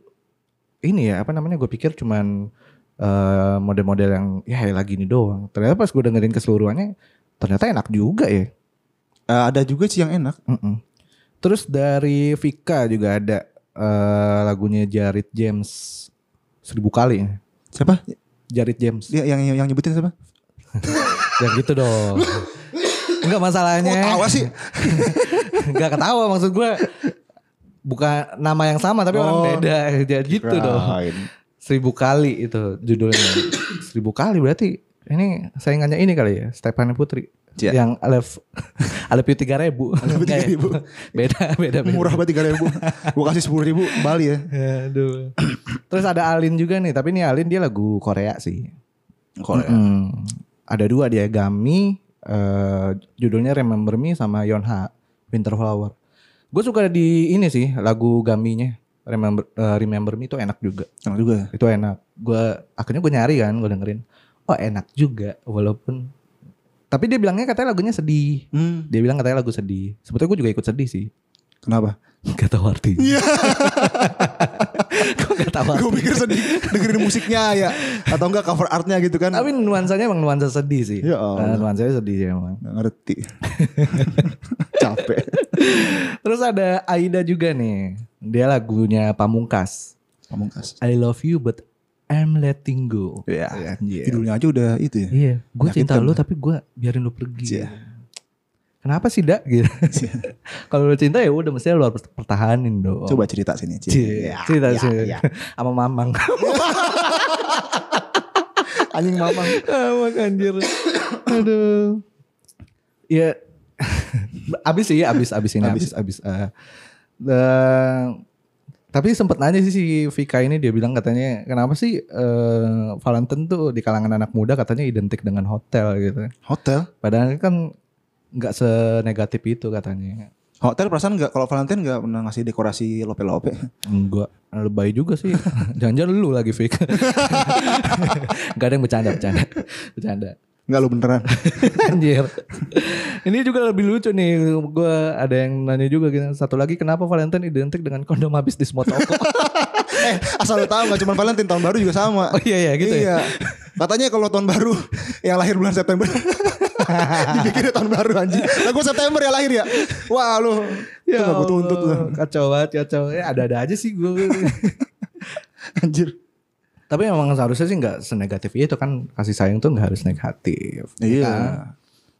[SPEAKER 3] ini ya apa namanya gue pikir cuman eh, model-model yang ya lagi ini doang ternyata pas gue dengerin keseluruhannya ternyata enak juga ya
[SPEAKER 2] Eh, ada juga sih yang enak.
[SPEAKER 3] Mm-mm. terus dari Vika juga ada eh, lagunya Jared James seribu kali.
[SPEAKER 2] Siapa?
[SPEAKER 3] Jared James.
[SPEAKER 2] Dia yang yang, yang nyebutin siapa?
[SPEAKER 3] Jangan gitu dong. Enggak
[SPEAKER 2] Kok
[SPEAKER 3] masalahnya.
[SPEAKER 2] tawa sih?
[SPEAKER 3] Enggak ketawa maksud gue. Bukan nama yang sama tapi orang
[SPEAKER 2] Oh.
[SPEAKER 3] beda. Jadi gitu dong.
[SPEAKER 2] Kirain.
[SPEAKER 3] Seribu kali itu judulnya. seribu kali berarti ini saingannya ini kali ya. Stephanie Putri.
[SPEAKER 2] Iya.
[SPEAKER 3] Yang Alef Alef Yu tiga ribu.
[SPEAKER 2] Alef Yu 3.000.
[SPEAKER 3] beda, beda, beda.
[SPEAKER 2] Murah banget tiga ribu. Gue kasih sepuluh ribu Bali ya.
[SPEAKER 3] Aduh. Terus ada Alin juga nih, tapi ini Alin dia lagu Korea sih. ya?
[SPEAKER 2] ya.
[SPEAKER 3] Mm-mm. Ada dua dia, Gami, eh, judulnya Remember Me sama Yonha, Winter Flower. Gue suka di ini sih lagu Gaminya, Remember eh, Remember Me itu enak juga.
[SPEAKER 2] Enak juga.
[SPEAKER 3] Itu enak. Gue akhirnya gue nyari kan, gue dengerin. Oh enak juga, walaupun. Tapi dia bilangnya katanya lagunya sedih.
[SPEAKER 2] Hmm.
[SPEAKER 3] Dia bilang katanya lagu sedih. Sebetulnya gue juga ikut sedih sih.
[SPEAKER 2] Kenapa?
[SPEAKER 3] Gak tau artinya. Kok gak tau
[SPEAKER 2] Gue pikir sedih dengerin musiknya ya. Atau enggak cover artnya gitu kan.
[SPEAKER 3] Tapi nuansanya emang nuansa sedih sih.
[SPEAKER 2] Ya Allah.
[SPEAKER 3] Eh, nuansanya sedih sih emang.
[SPEAKER 2] Nggak ngerti. Capek.
[SPEAKER 3] Terus ada Aida juga nih. Dia lagunya Pamungkas.
[SPEAKER 2] Pamungkas.
[SPEAKER 3] I love you but I'm letting go.
[SPEAKER 2] Iya.
[SPEAKER 3] Iya.
[SPEAKER 2] Judulnya aja udah itu ya.
[SPEAKER 3] Iya, gue
[SPEAKER 2] Menyakitkan
[SPEAKER 3] cinta lu
[SPEAKER 2] kan?
[SPEAKER 3] tapi gue biarin lu pergi.
[SPEAKER 2] Iya.
[SPEAKER 3] Kenapa sih dak? Gitu. Kalau lu cinta ya udah mestinya lu harus pertahanin dong.
[SPEAKER 2] Coba cerita sini. Ci.
[SPEAKER 3] Cie,
[SPEAKER 2] Ya,
[SPEAKER 3] Oh. cerita
[SPEAKER 2] ya,
[SPEAKER 3] sih
[SPEAKER 2] ya.
[SPEAKER 3] sama mamang.
[SPEAKER 2] Anjing mamang.
[SPEAKER 3] Amak anjir. Aduh. Ya abis sih, abis abis ini abis abis. eh. Eh, tapi sempat nanya sih si Vika ini dia bilang katanya kenapa sih eh, Valentine tuh di kalangan anak muda katanya identik dengan hotel gitu.
[SPEAKER 2] Hotel.
[SPEAKER 3] Padahal kan nggak senegatif itu katanya.
[SPEAKER 2] Hotel perasaan nggak kalau Valentine nggak pernah ngasih dekorasi lope-lope.
[SPEAKER 3] Enggak, lebay juga sih. Jangan-jangan lu lagi Vika. Gak ada yang bercanda, bercanda. Bercanda.
[SPEAKER 2] Enggak lu beneran.
[SPEAKER 3] Anjir. Ini juga lebih lucu nih. Gue ada yang nanya juga gitu. Satu lagi kenapa Valentine identik dengan kondom habis di semua toko?
[SPEAKER 2] eh, asal lu tahu nggak cuma Valentine tahun baru juga sama.
[SPEAKER 3] Oh iya ya gitu
[SPEAKER 2] iya.
[SPEAKER 3] ya.
[SPEAKER 2] Katanya kalau tahun baru yang lahir bulan September dipikirnya tahun baru anjing. Lah gua September ya lahir ya. Wah lu. itu gak gue
[SPEAKER 3] Ya Allah,
[SPEAKER 2] tuntut lu
[SPEAKER 3] Kacau banget, kacau. Ya ada-ada aja sih gue.
[SPEAKER 2] anjir.
[SPEAKER 3] Tapi memang seharusnya sih nggak senegatif itu kan kasih sayang tuh nggak harus negatif.
[SPEAKER 2] Iya.
[SPEAKER 3] Kan?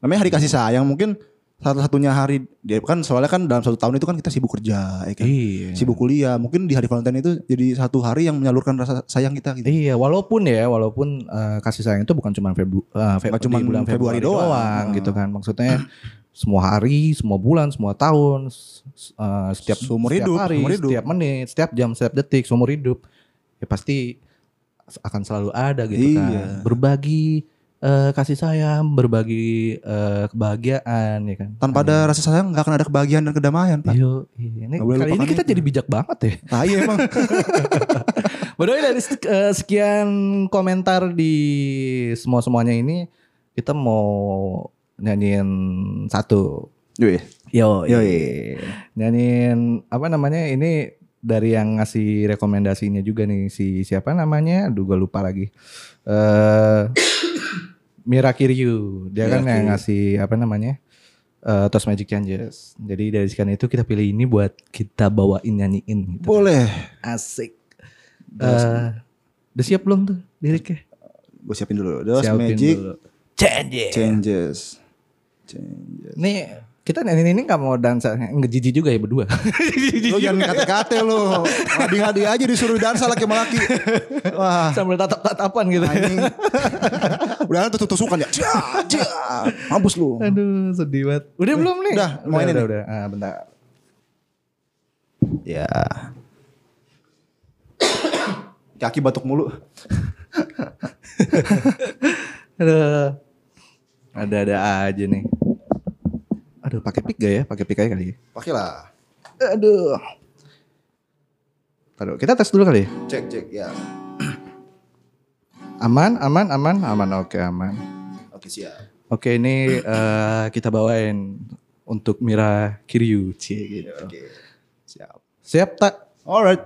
[SPEAKER 2] Namanya hari kasih sayang mungkin satu-satunya hari dia kan soalnya kan dalam satu tahun itu kan kita sibuk kerja ya kan?
[SPEAKER 3] Iya.
[SPEAKER 2] Sibuk kuliah. Mungkin di hari Valentine itu jadi satu hari yang menyalurkan rasa sayang kita gitu.
[SPEAKER 3] Iya, walaupun ya, walaupun eh, kasih sayang itu bukan cuma Febru, eh, Fe-
[SPEAKER 2] Nggak
[SPEAKER 3] di
[SPEAKER 2] cuman
[SPEAKER 3] bulan
[SPEAKER 2] Februari
[SPEAKER 3] Februari, doang,
[SPEAKER 2] doang. Ah.
[SPEAKER 3] gitu kan. Maksudnya semua hari, semua bulan, semua tahun, s- s- eh, setiap
[SPEAKER 2] Seumur
[SPEAKER 3] setiap
[SPEAKER 2] hidup,
[SPEAKER 3] hari,
[SPEAKER 2] seumur hidup.
[SPEAKER 3] setiap menit, setiap jam, setiap detik, seumur hidup, ya pasti s- akan selalu ada gitu
[SPEAKER 2] Iya.
[SPEAKER 3] kan. Berbagi eh, kasih sayang, berbagi eh, kebahagiaan, ya kan.
[SPEAKER 2] Tanpa ada rasa sayang nggak akan ada kebahagiaan dan kedamaian, Pak.
[SPEAKER 3] Yo, iya. ini
[SPEAKER 2] Nggak boleh
[SPEAKER 3] kali ini
[SPEAKER 2] lupakan
[SPEAKER 3] kita
[SPEAKER 2] itu.
[SPEAKER 3] jadi bijak banget ya.
[SPEAKER 2] Ah, iya emang.
[SPEAKER 3] By the way, dari sek- eh, sekian komentar di semua semuanya ini kita mau nyanyiin satu.
[SPEAKER 2] Yoi.
[SPEAKER 3] Yo,
[SPEAKER 2] Yoi.
[SPEAKER 3] nyanyiin apa namanya ini dari yang ngasih rekomendasinya juga nih si siapa namanya? Aduh gue lupa lagi. Eh Mira Kiryu, dia kan
[SPEAKER 2] Mira
[SPEAKER 3] yang
[SPEAKER 2] Kiryu.
[SPEAKER 3] ngasih apa namanya? eh Toast Magic Changes. Jadi dari sekian itu kita pilih ini buat kita bawain nyanyiin. gitu.
[SPEAKER 2] Boleh.
[SPEAKER 3] Asik. Eh, udah siap belum tuh liriknya?
[SPEAKER 2] Gue siapin dulu. Dos
[SPEAKER 3] Siapin
[SPEAKER 2] Magic
[SPEAKER 3] dulu.
[SPEAKER 2] Changes. Changes.
[SPEAKER 3] Nih kita ini ini nggak mau dansa ngejiji juga ya berdua.
[SPEAKER 2] Lu jangan kate-kate lu. Ngadi-ngadi aja disuruh dansa laki sama laki. Wah.
[SPEAKER 3] Sambil tatap tatapan gitu.
[SPEAKER 2] Anjing. Udah tusuk-tusukan ya. Cia, cia. Mampus lu.
[SPEAKER 3] Aduh sedih banget. Udah belum nih?
[SPEAKER 2] udah, mau ini
[SPEAKER 3] udah,
[SPEAKER 2] nih.
[SPEAKER 3] udah. Ah, bentar.
[SPEAKER 2] Ya. Kaki batuk mulu.
[SPEAKER 3] Aduh. Ada ada aja nih. Aduh pakai pick gak ya? Pakai pick aja kali. ya.
[SPEAKER 2] Pakailah.
[SPEAKER 3] Aduh. Taruh, kita tes dulu kali ya.
[SPEAKER 2] Cek cek ya.
[SPEAKER 3] Aman, aman, aman, aman. Oke, aman.
[SPEAKER 2] Oke siap.
[SPEAKER 3] Oke ini eh, kita bawain untuk Mira Kiryu Cie, gitu.
[SPEAKER 2] Oke. Siap.
[SPEAKER 3] Siap tak?
[SPEAKER 2] Alright.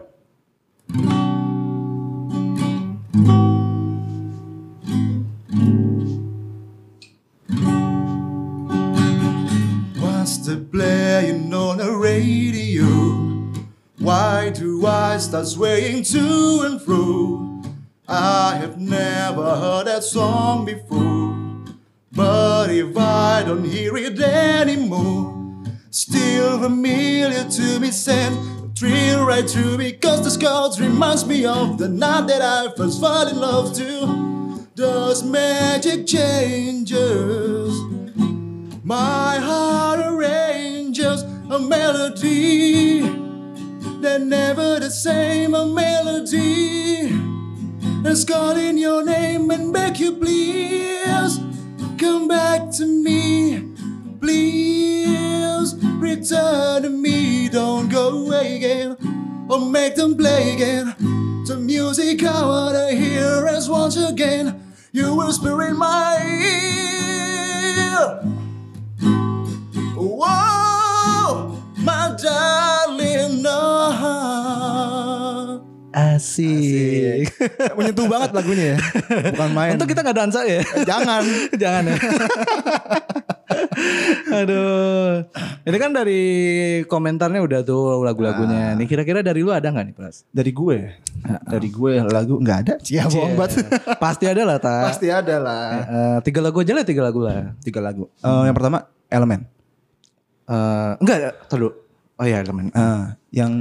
[SPEAKER 1] What's the playing on the radio? Why do start swaying to and fro. I have never heard that song before. But if I don't hear it anymore, still familiar to me, sent a thrill right through me. Cause the skulls reminds me of the night that I first fell in love to. Does magic changes? My heart arranges a melody that never the same a melody that's calling your name and beg you please come back to me please return to me don't go away again or make them play again the music I wanna hear is once again you whisper in my ear Whoa, my darling, no.
[SPEAKER 3] Asik.
[SPEAKER 2] Menyentuh banget lagunya ya. Bukan main.
[SPEAKER 3] Untuk kita nggak dansa ya.
[SPEAKER 2] Eh, Jangan.
[SPEAKER 3] Jangan ya. Aduh. Ini kan dari komentarnya udah tuh
[SPEAKER 2] Ah.
[SPEAKER 3] lagu-lagunya. Nih kira-kira dari lu ada nggak nih Pras?
[SPEAKER 2] Dari gue. Dari gue lagu nggak ada. Cia bohong banget.
[SPEAKER 3] Pasti ada lah ta.
[SPEAKER 2] Pasti ada lah.
[SPEAKER 3] Eh, tiga lagu aja lah tiga lagu lah.
[SPEAKER 2] Tiga lagu. Eh, yang pertama Elemen.
[SPEAKER 3] Eh, enggak, tar dulu. Oh iya teman.
[SPEAKER 2] Eh, yang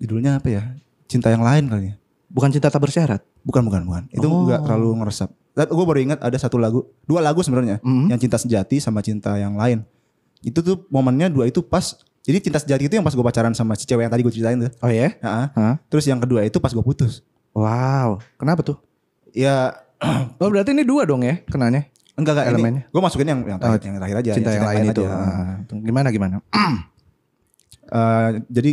[SPEAKER 2] judulnya apa ya? Cinta yang lain kali ya.
[SPEAKER 3] Bukan cinta tak bersyarat.
[SPEAKER 2] Bukan bukan bukan. Itu nggak terlalu ngeresap. Gue baru ingat ada satu lagu, dua lagu sebenarnya, yang cinta sejati sama cinta yang lain. Itu tuh momennya dua itu pas. Jadi cinta sejati itu yang pas gue pacaran sama si cewek yang tadi gue ceritain tuh.
[SPEAKER 3] Oh ya?
[SPEAKER 2] Heeh.
[SPEAKER 3] Hah?
[SPEAKER 2] Terus yang kedua itu pas gue putus.
[SPEAKER 3] Wow. Kenapa tuh?
[SPEAKER 2] Ya
[SPEAKER 3] Oh berarti ini dua dong ya kenanya?
[SPEAKER 2] enggak enggak ini.
[SPEAKER 3] Elemennya. Oh,
[SPEAKER 2] Gue masukin yang yang terakhir, Iya, yang ya. terakhir aja.
[SPEAKER 3] cinta yang lain itu.
[SPEAKER 2] aja.
[SPEAKER 3] Ah, gimana gimana?
[SPEAKER 2] Eh, jadi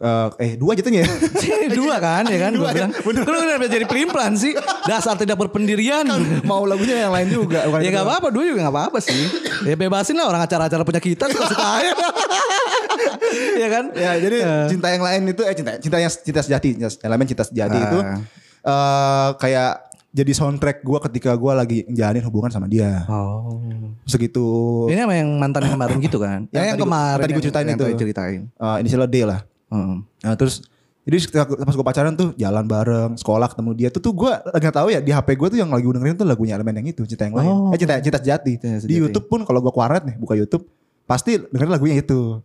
[SPEAKER 2] eh, eh dua jatuhnya ya.
[SPEAKER 3] dua kan ya kan?
[SPEAKER 2] Dua
[SPEAKER 3] Dua,
[SPEAKER 2] ya,
[SPEAKER 3] bilang, Lu kenapa jadi pelimplan sih? Dasar tidak berpendirian.
[SPEAKER 2] Kan Mau lagunya yang lain juga. bukan
[SPEAKER 3] ya
[SPEAKER 2] itu
[SPEAKER 3] gak
[SPEAKER 2] doang.
[SPEAKER 3] apa-apa, dua juga gak apa-apa sih. ya bebasin lah orang acara-acara punya kita suka-suka aja. ya kan?
[SPEAKER 2] Ya jadi cinta yang lain itu eh cinta cinta yang cinta sejati cinta- elemen cinta sejati itu
[SPEAKER 3] Ah.
[SPEAKER 2] eh kayak jadi soundtrack gua ketika gua lagi jalanin hubungan sama dia
[SPEAKER 3] Oh.
[SPEAKER 2] segitu
[SPEAKER 3] Ini sama yang mantan yang kemarin gitu kan?
[SPEAKER 2] Ya, yang tadi gua- tadi gua
[SPEAKER 3] yang-
[SPEAKER 2] ceritain
[SPEAKER 3] yang
[SPEAKER 2] itu.
[SPEAKER 3] tadi ceritain. Hmm.
[SPEAKER 2] eh, inisialnya D lah.
[SPEAKER 3] Heeh.
[SPEAKER 2] Nah, terus jadi setelah- pas gue pacaran tuh jalan bareng sekolah ketemu dia tuh tuh gue nggak tahu ya di HP gue tuh yang lagi gua dengerin tuh lagunya elemen yang itu cinta yang lain
[SPEAKER 3] Oh.
[SPEAKER 2] eh cinta cinta sejati.
[SPEAKER 3] Cinta
[SPEAKER 2] di
[SPEAKER 3] Sejati.
[SPEAKER 2] YouTube pun kalau gue kuaret nih buka YouTube pasti dengerin lagunya itu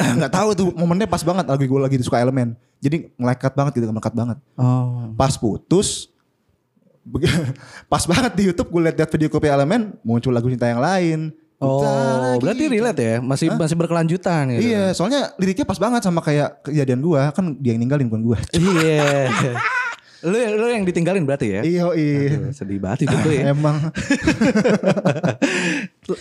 [SPEAKER 2] nggak tahu tuh momennya pas banget lagu gue lagi suka elemen jadi melekat banget gitu melekat banget
[SPEAKER 3] Oh.
[SPEAKER 2] pas putus beg- pas banget di YouTube gue liat liat video kopi elemen muncul lagu cinta yang lain
[SPEAKER 3] Oh,
[SPEAKER 2] Cinta lagi. gitu.
[SPEAKER 3] berarti relate ya? Masih masih berkelanjutan gitu.
[SPEAKER 2] Iya, soalnya liriknya pas banget sama kayak kejadian gua, kan dia yang ninggalin bukan gua.
[SPEAKER 3] Iya. lu, yang- lu yang ditinggalin berarti ya?
[SPEAKER 2] Iya, iya.
[SPEAKER 3] Aduh, sedih banget itu tuh ya.
[SPEAKER 2] Emang
[SPEAKER 3] Tuh,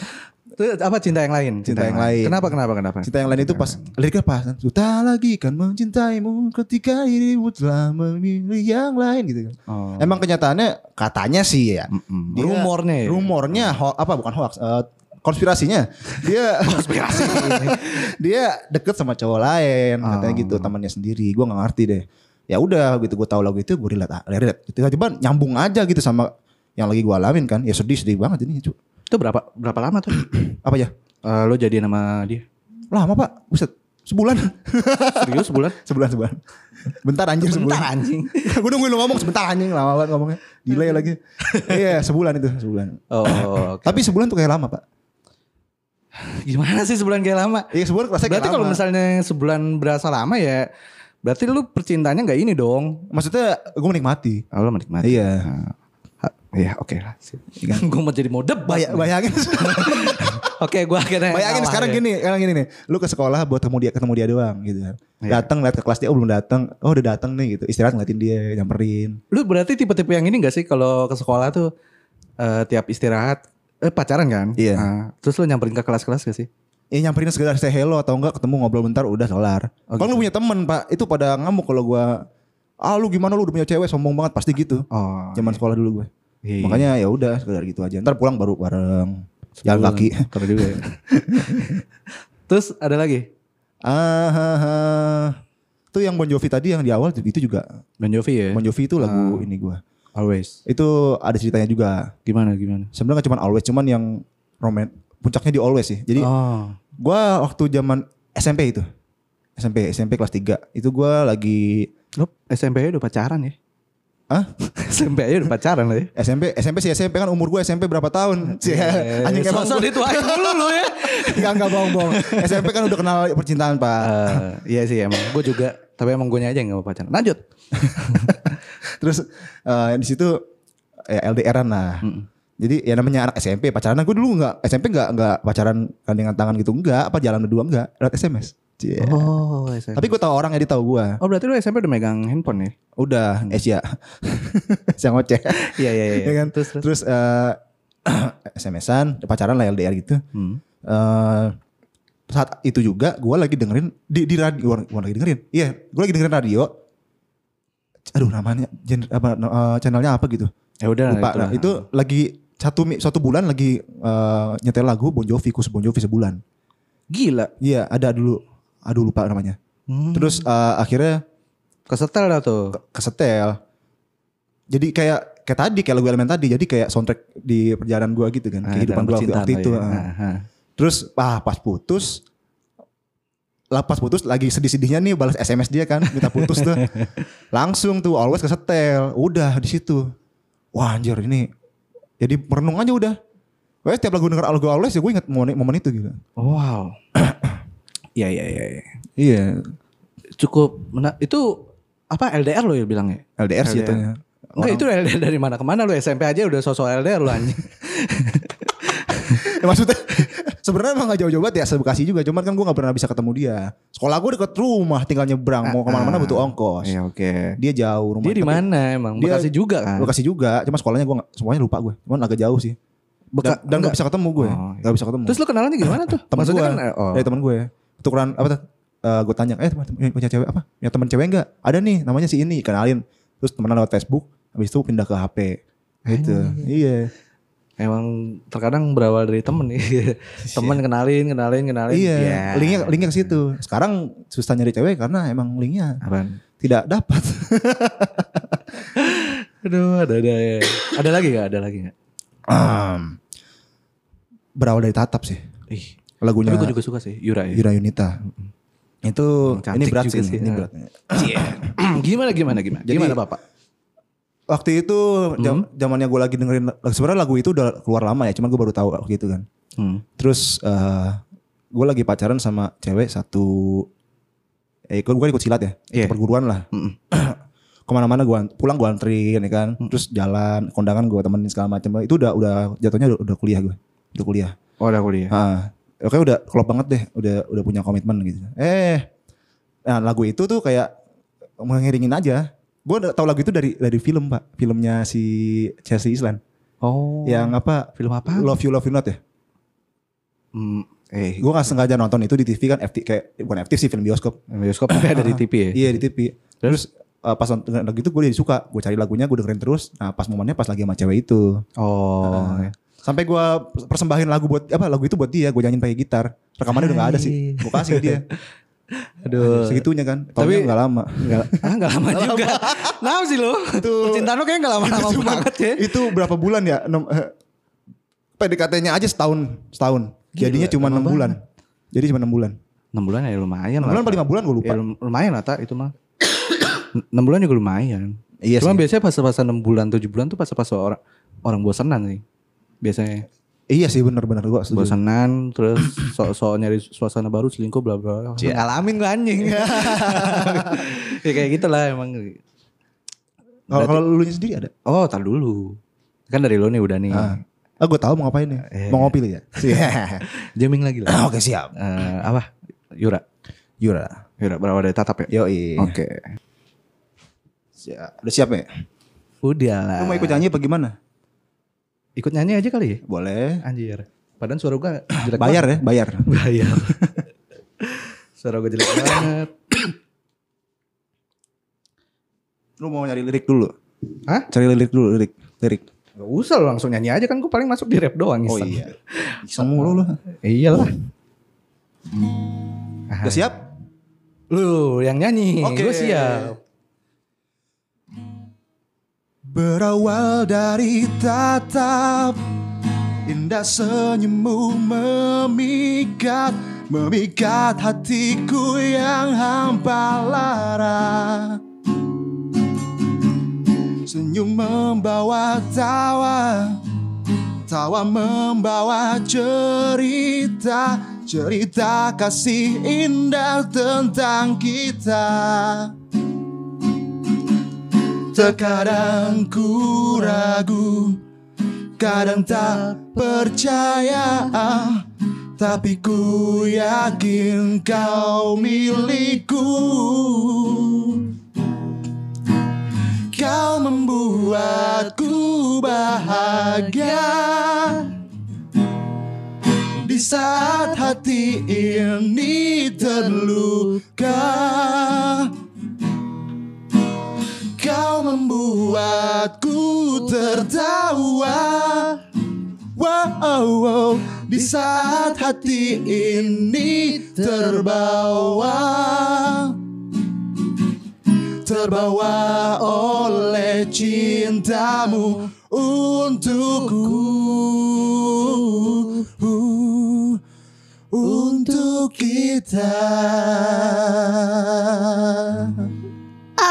[SPEAKER 3] tuh, apa cinta yang lain?
[SPEAKER 2] Cinta yang lain.
[SPEAKER 3] Kenapa kenapa kenapa?
[SPEAKER 2] cinta yang lain itu pas liriknya pas sudah lagi kan mencintaimu ketika dirimu telah memilih yang lain gitu kan.
[SPEAKER 3] Oh.
[SPEAKER 2] Emang kenyataannya katanya sih ya.
[SPEAKER 3] Mm-mm. Rumornya ya?
[SPEAKER 2] Rumornya ho- apa bukan hoax eh, konspirasinya. Dia konspirasi. dia deket sama cowok lain katanya gitu
[SPEAKER 3] Ah.
[SPEAKER 2] temannya sendiri. Gua nggak ngerti deh. Ya udah gitu gue tahu lagu itu gue relate, ah, relate. Tiba-tiba nyambung aja gitu sama yang lagi gua alamin kan. Ya sedih sedih banget ini. cu.
[SPEAKER 3] Itu berapa berapa lama tuh?
[SPEAKER 2] Apa ya?
[SPEAKER 3] Eh, lo jadi nama dia?
[SPEAKER 2] Lama pak, buset sebulan,
[SPEAKER 3] Serius sebulan?
[SPEAKER 2] sebulan sebulan. Bentar anjir sebulan.
[SPEAKER 3] Bentar anjing.
[SPEAKER 2] gue nungguin lo ngomong sebentar anjing lama banget ngomongnya. Delay lagi. Iya sebulan itu sebulan.
[SPEAKER 3] Oh, oke.
[SPEAKER 2] Tapi sebulan tuh kayak lama pak.
[SPEAKER 3] Gimana sih sebulan kayak lama?
[SPEAKER 2] Iya sebulan kerasa kayak
[SPEAKER 3] berarti kalau
[SPEAKER 2] lama.
[SPEAKER 3] misalnya sebulan berasa lama ya, berarti lu percintanya nggak ini dong?
[SPEAKER 2] Maksudnya gue menikmati.
[SPEAKER 3] Oh, lo menikmati.
[SPEAKER 2] Iya.
[SPEAKER 3] Iya, oke lah. gue mau jadi mode
[SPEAKER 2] Bay- bayangin.
[SPEAKER 3] Oke, gue akhirnya
[SPEAKER 2] bayangin
[SPEAKER 3] ngalah
[SPEAKER 2] sekarang
[SPEAKER 3] ya.
[SPEAKER 2] gini, sekarang gini nih. Lu ke sekolah buat ketemu dia, ketemu dia doang gitu
[SPEAKER 3] Iya.
[SPEAKER 2] kan. Datang lihat ke kelas dia, oh belum datang. Oh udah datang nih gitu. Istirahat ngeliatin dia, nyamperin.
[SPEAKER 3] Lu berarti tipe-tipe yang ini gak sih kalau ke sekolah tuh eh, tiap istirahat eh, pacaran kan?
[SPEAKER 2] Iya.
[SPEAKER 3] Ah, terus lu nyamperin ke kelas-kelas gak sih?
[SPEAKER 2] Ya nyamperin sekedar say hello atau enggak ketemu ngobrol bentar udah kelar.
[SPEAKER 3] Oh,
[SPEAKER 2] kalau
[SPEAKER 3] gitu.
[SPEAKER 2] lu punya temen pak, itu pada ngamuk kalau gua ah lu gimana lu udah punya cewek sombong banget pasti gitu.
[SPEAKER 3] Oh.
[SPEAKER 2] Zaman sekolah dulu gue.
[SPEAKER 3] Iya.
[SPEAKER 2] Makanya ya udah sekedar gitu aja. Ntar pulang baru bareng jalan kaki.
[SPEAKER 3] Keren juga ya. terus ada lagi?
[SPEAKER 2] Ah, ah, ah. Itu yang Bon Jovi tadi yang di awal itu juga
[SPEAKER 3] Bon Jovi ya?
[SPEAKER 2] Bon Jovi itu lagu ini gua.
[SPEAKER 3] Always.
[SPEAKER 2] Itu ada ceritanya juga.
[SPEAKER 3] Gimana gimana?
[SPEAKER 2] Sebenarnya nggak cuman always cuman yang roman puncaknya di always sih. Jadi
[SPEAKER 3] Oh.
[SPEAKER 2] gua waktu zaman SMP itu. SMP SMP kelas 3 itu gue lagi ah?
[SPEAKER 3] Lo SMP aja udah pacaran ya?
[SPEAKER 2] Hah?
[SPEAKER 3] SMP aja udah pacaran lah ya?
[SPEAKER 2] SMP SMP sih SMP kan umur gue SMP berapa
[SPEAKER 3] Hmm.
[SPEAKER 2] tahun sih anjing
[SPEAKER 3] Eh,
[SPEAKER 2] emang
[SPEAKER 3] sosok
[SPEAKER 2] gue
[SPEAKER 3] dituain dulu lu ya.
[SPEAKER 2] nggak nggak bohong bohong SMP kan udah kenal percintaan pak
[SPEAKER 3] Eh, iya sih emang. Gue juga. Tapi emang gue aja yang gak mau pacaran. Lanjut.
[SPEAKER 2] terus eh, di situ ya LDRan lah
[SPEAKER 3] Hmm.
[SPEAKER 2] jadi ya namanya anak SMP pacaran gue dulu nggak SMP nggak nggak pacaran gandengan tangan gitu nggak apa jalan berdua nggak lewat SMS Cie.
[SPEAKER 3] Oh SMP.
[SPEAKER 2] tapi gue tahu orang jadi tahu gue
[SPEAKER 3] oh berarti lu SMP udah megang handphone ya?
[SPEAKER 2] udah Asia siang ngoceh
[SPEAKER 3] Iya iya
[SPEAKER 2] Ya kan?
[SPEAKER 3] Terus terus.
[SPEAKER 2] terus eh, SMS-an pacaran lah LDR gitu
[SPEAKER 3] Hmm.
[SPEAKER 2] eh saat itu juga gue lagi dengerin di, di radio gua gua lagi dengerin iya gue lagi dengerin radio aduh namanya gen- apa, eh, channelnya apa gitu
[SPEAKER 3] Ya udah.
[SPEAKER 2] lupa
[SPEAKER 3] itulah.
[SPEAKER 2] Nah, itu lagi satu mi- satu bulan lagi eh, nyetel lagu Bon Jovi kus Bon Jovi sebulan
[SPEAKER 3] gila.
[SPEAKER 2] iya ada dulu aduh lupa namanya
[SPEAKER 3] Hmm.
[SPEAKER 2] terus eh, akhirnya
[SPEAKER 3] kesetel dah tuh.
[SPEAKER 2] kesetel jadi kayak kayak tadi kayak lagu elemen tadi jadi kayak soundtrack di perjalanan gue gitu kan
[SPEAKER 3] Ah,
[SPEAKER 2] kehidupan
[SPEAKER 3] dalam
[SPEAKER 2] gue waktu,
[SPEAKER 3] percintaan
[SPEAKER 2] waktu
[SPEAKER 3] lah
[SPEAKER 2] itu
[SPEAKER 3] ya.
[SPEAKER 2] ah.
[SPEAKER 3] Ah, ah.
[SPEAKER 2] Terus ah, pas putus lah pas putus lagi sedih-sedihnya nih balas SMS dia kan minta putus tuh. Langsung tuh always kesetel. Udah di situ. Wah anjir ini jadi merenung aja udah. Wes setiap lagu denger lagu always ya gue inget momen, momen itu gitu.
[SPEAKER 3] Wow. Iya iya iya. iya.
[SPEAKER 2] Iya,
[SPEAKER 3] Cukup mena- itu apa LDR lo ya bilangnya?
[SPEAKER 2] LDR sih
[SPEAKER 3] LDR.
[SPEAKER 2] itu.
[SPEAKER 3] Enggak itu LDR dari mana kemana lu SMP aja udah sosok LDR lu anjing.
[SPEAKER 2] Ya, maksudnya sebenarnya emang gak jauh-jauh banget ya sebekasi juga cuman kan gue gak pernah bisa ketemu dia sekolah gue deket rumah tinggal nyebrang mau kemana-mana butuh ongkos
[SPEAKER 3] Ah, Iya oke. ya.
[SPEAKER 2] dia jauh rumah
[SPEAKER 3] Dia di mana emang?
[SPEAKER 2] Dia-
[SPEAKER 3] Bekasi juga kan?
[SPEAKER 2] Gue kasih juga, cuma sekolahnya gue semuanya lupa gue. Cuman agak jauh sih.
[SPEAKER 3] Beka-
[SPEAKER 2] Dan- dan
[SPEAKER 3] enggak.
[SPEAKER 2] gak bisa ketemu gue,
[SPEAKER 3] Oh, iya.
[SPEAKER 2] gak bisa ketemu.
[SPEAKER 3] Terus lu kenalannya gimana tuh?
[SPEAKER 2] temen
[SPEAKER 3] Maksudnya
[SPEAKER 2] gue,
[SPEAKER 3] kan eh, oh.
[SPEAKER 2] dari temen gue, tukeran apa tuh? gue tanya, eh teman teman- punya cewek apa? Punya teman cewek enggak? Ada nih, namanya si ini, kenalin. Terus temenan lewat Facebook, habis itu pindah ke HP. Gitu. Iya.
[SPEAKER 3] Emang terkadang berawal dari temen nih. temen kenalin, kenalin, kenalin.
[SPEAKER 2] Iya.
[SPEAKER 3] Ya.
[SPEAKER 2] Linknya linknya ke situ. Sekarang susah nyari cewek karena emang linknya
[SPEAKER 3] Apaan?
[SPEAKER 2] tidak dapat.
[SPEAKER 3] Aduh, ada ada. ya. ada lagi gak? Ada lagi gak?
[SPEAKER 2] Ahem. Berawal dari tatap sih.
[SPEAKER 3] Ih.
[SPEAKER 2] Lagunya
[SPEAKER 3] Tapi gue juga suka sih Yura ya.
[SPEAKER 2] Yura Yunita. Itu
[SPEAKER 3] Cantik
[SPEAKER 2] ini berat
[SPEAKER 3] juga
[SPEAKER 2] sih,
[SPEAKER 3] sih,
[SPEAKER 2] ini
[SPEAKER 3] ya.
[SPEAKER 2] berat.
[SPEAKER 3] gimana gimana gimana?
[SPEAKER 2] Jadi-
[SPEAKER 3] gimana Bapak?
[SPEAKER 2] waktu itu jam- zamannya gue lagi dengerin sebenarnya lagu itu udah keluar lama ya cuman gue baru tahu waktu itu kan
[SPEAKER 3] Hmm.
[SPEAKER 2] terus eh gue lagi pacaran sama cewek satu eh gue ikut silat ya
[SPEAKER 3] Iya.
[SPEAKER 2] perguruan lah
[SPEAKER 3] Mm-mm.
[SPEAKER 2] kemana-mana gue pulang gue anterin ya kan terus jalan kondangan gue temenin segala macam itu udah udah jatuhnya udah, udah kuliah gue udah kuliah
[SPEAKER 3] Oh, udah kuliah.
[SPEAKER 2] Ah, oke udah klop banget deh, udah udah punya komitmen gitu. Eh, nah lagu itu tuh kayak mengiringin aja. Gue tahu lagu itu dari dari film pak, filmnya si Chelsea Island,
[SPEAKER 3] Oh.
[SPEAKER 2] yang apa?
[SPEAKER 3] film apa?
[SPEAKER 2] Love You Love You Not ya.
[SPEAKER 3] Hmm, eh,
[SPEAKER 2] Gue nggak sengaja nonton itu di TV kan, FT, kayak bukan FT sih film bioskop.
[SPEAKER 3] bioskop tapi ada di TV ya.
[SPEAKER 2] Iya di TV. Terus eh, pas nonton lagu itu gue jadi suka, gue cari lagunya, gue dengerin terus. Nah pas momennya pas lagi sama cewek itu.
[SPEAKER 3] Oh.
[SPEAKER 2] Ah. Sampai gue persembahin lagu buat apa lagu itu buat dia, gue nyanyiin pakai gitar. Rekamannya udah gak ada sih, gue kasih ke dia.
[SPEAKER 3] Aduh.
[SPEAKER 2] segitunya kan
[SPEAKER 3] Tapi-
[SPEAKER 2] tapi nggak lama
[SPEAKER 3] Enggak, ah, enggak lama juga. Kenapa sih lo? Percintaan lo kayaknya enggak lama-lama
[SPEAKER 2] Itu
[SPEAKER 3] banget ya.
[SPEAKER 2] itu berapa bulan ya Enam- eh, PDKT-nya aja setahun setahun jadinya cuma enam bulan jadi cuma enam bulan
[SPEAKER 3] 6 bulan ya lumayan
[SPEAKER 2] enam
[SPEAKER 3] lah.
[SPEAKER 2] bulan apa lima bulan gue lupa
[SPEAKER 3] Ya, lum- lumayan lah tak itu mah. 6 bulan juga lumayan.
[SPEAKER 2] iya
[SPEAKER 3] Cuma biasanya pas-pas 6 bulan, 7 bulan tuh pas-pas orang orang bosenan sih. Biasanya
[SPEAKER 2] iya sih benar-benar gue setuju
[SPEAKER 3] bosenan terus sok-sok nyari suasana baru selingkuh bla bla. Alamin gue anjing. ya kayak gitulah emang.
[SPEAKER 2] kalau kalau lu sendiri ada
[SPEAKER 3] Oh, tar dulu. Kan dari lo nih udah nih.
[SPEAKER 2] ah, ah gue tahu mau ngapain nih
[SPEAKER 3] Iya.
[SPEAKER 2] mau ngopi lu ya
[SPEAKER 3] Jamming lagi lah.
[SPEAKER 2] oke siap
[SPEAKER 3] Eh, apa? Yura.
[SPEAKER 2] Yura
[SPEAKER 3] Yura berawal dari tatap ya?
[SPEAKER 2] yoi
[SPEAKER 3] Oke.
[SPEAKER 2] Siap. udah siap ya
[SPEAKER 3] Udah lah.
[SPEAKER 2] lu mau ikut nyanyi apa gimana
[SPEAKER 3] Ikut nyanyi aja kali ya?
[SPEAKER 2] boleh
[SPEAKER 3] Anjir. Padahal suara gue jelek
[SPEAKER 2] bayar ya bayar
[SPEAKER 3] banget. Bayar. suara gue jelek banget.
[SPEAKER 2] lu mau nyari lirik dulu
[SPEAKER 3] Hah?
[SPEAKER 2] cari lirik dulu lirik lirik
[SPEAKER 3] Gak usah lo langsung nyanyi aja kan gue paling masuk di rap doang.
[SPEAKER 2] oh
[SPEAKER 3] iseng.
[SPEAKER 2] iya iseng mulu lu
[SPEAKER 3] Iyalah.
[SPEAKER 2] udah siap
[SPEAKER 3] Lu yang nyanyi.
[SPEAKER 2] Oke.
[SPEAKER 3] Gue siap.
[SPEAKER 2] Berawal dari tatap Indah senyummu memikat Memikat hatiku yang hampa lara Senyum membawa tawa Tawa membawa cerita Cerita kasih indah tentang kita Terkadang ku ragu Kadang tak percaya Tapi ku yakin kau milikku Kau membuatku bahagia Di saat hati ini terluka Kau membuatku tertawa Wow, wow. Di saat hati ini terbawa Terbawa oleh cintamu untukku Untuk kita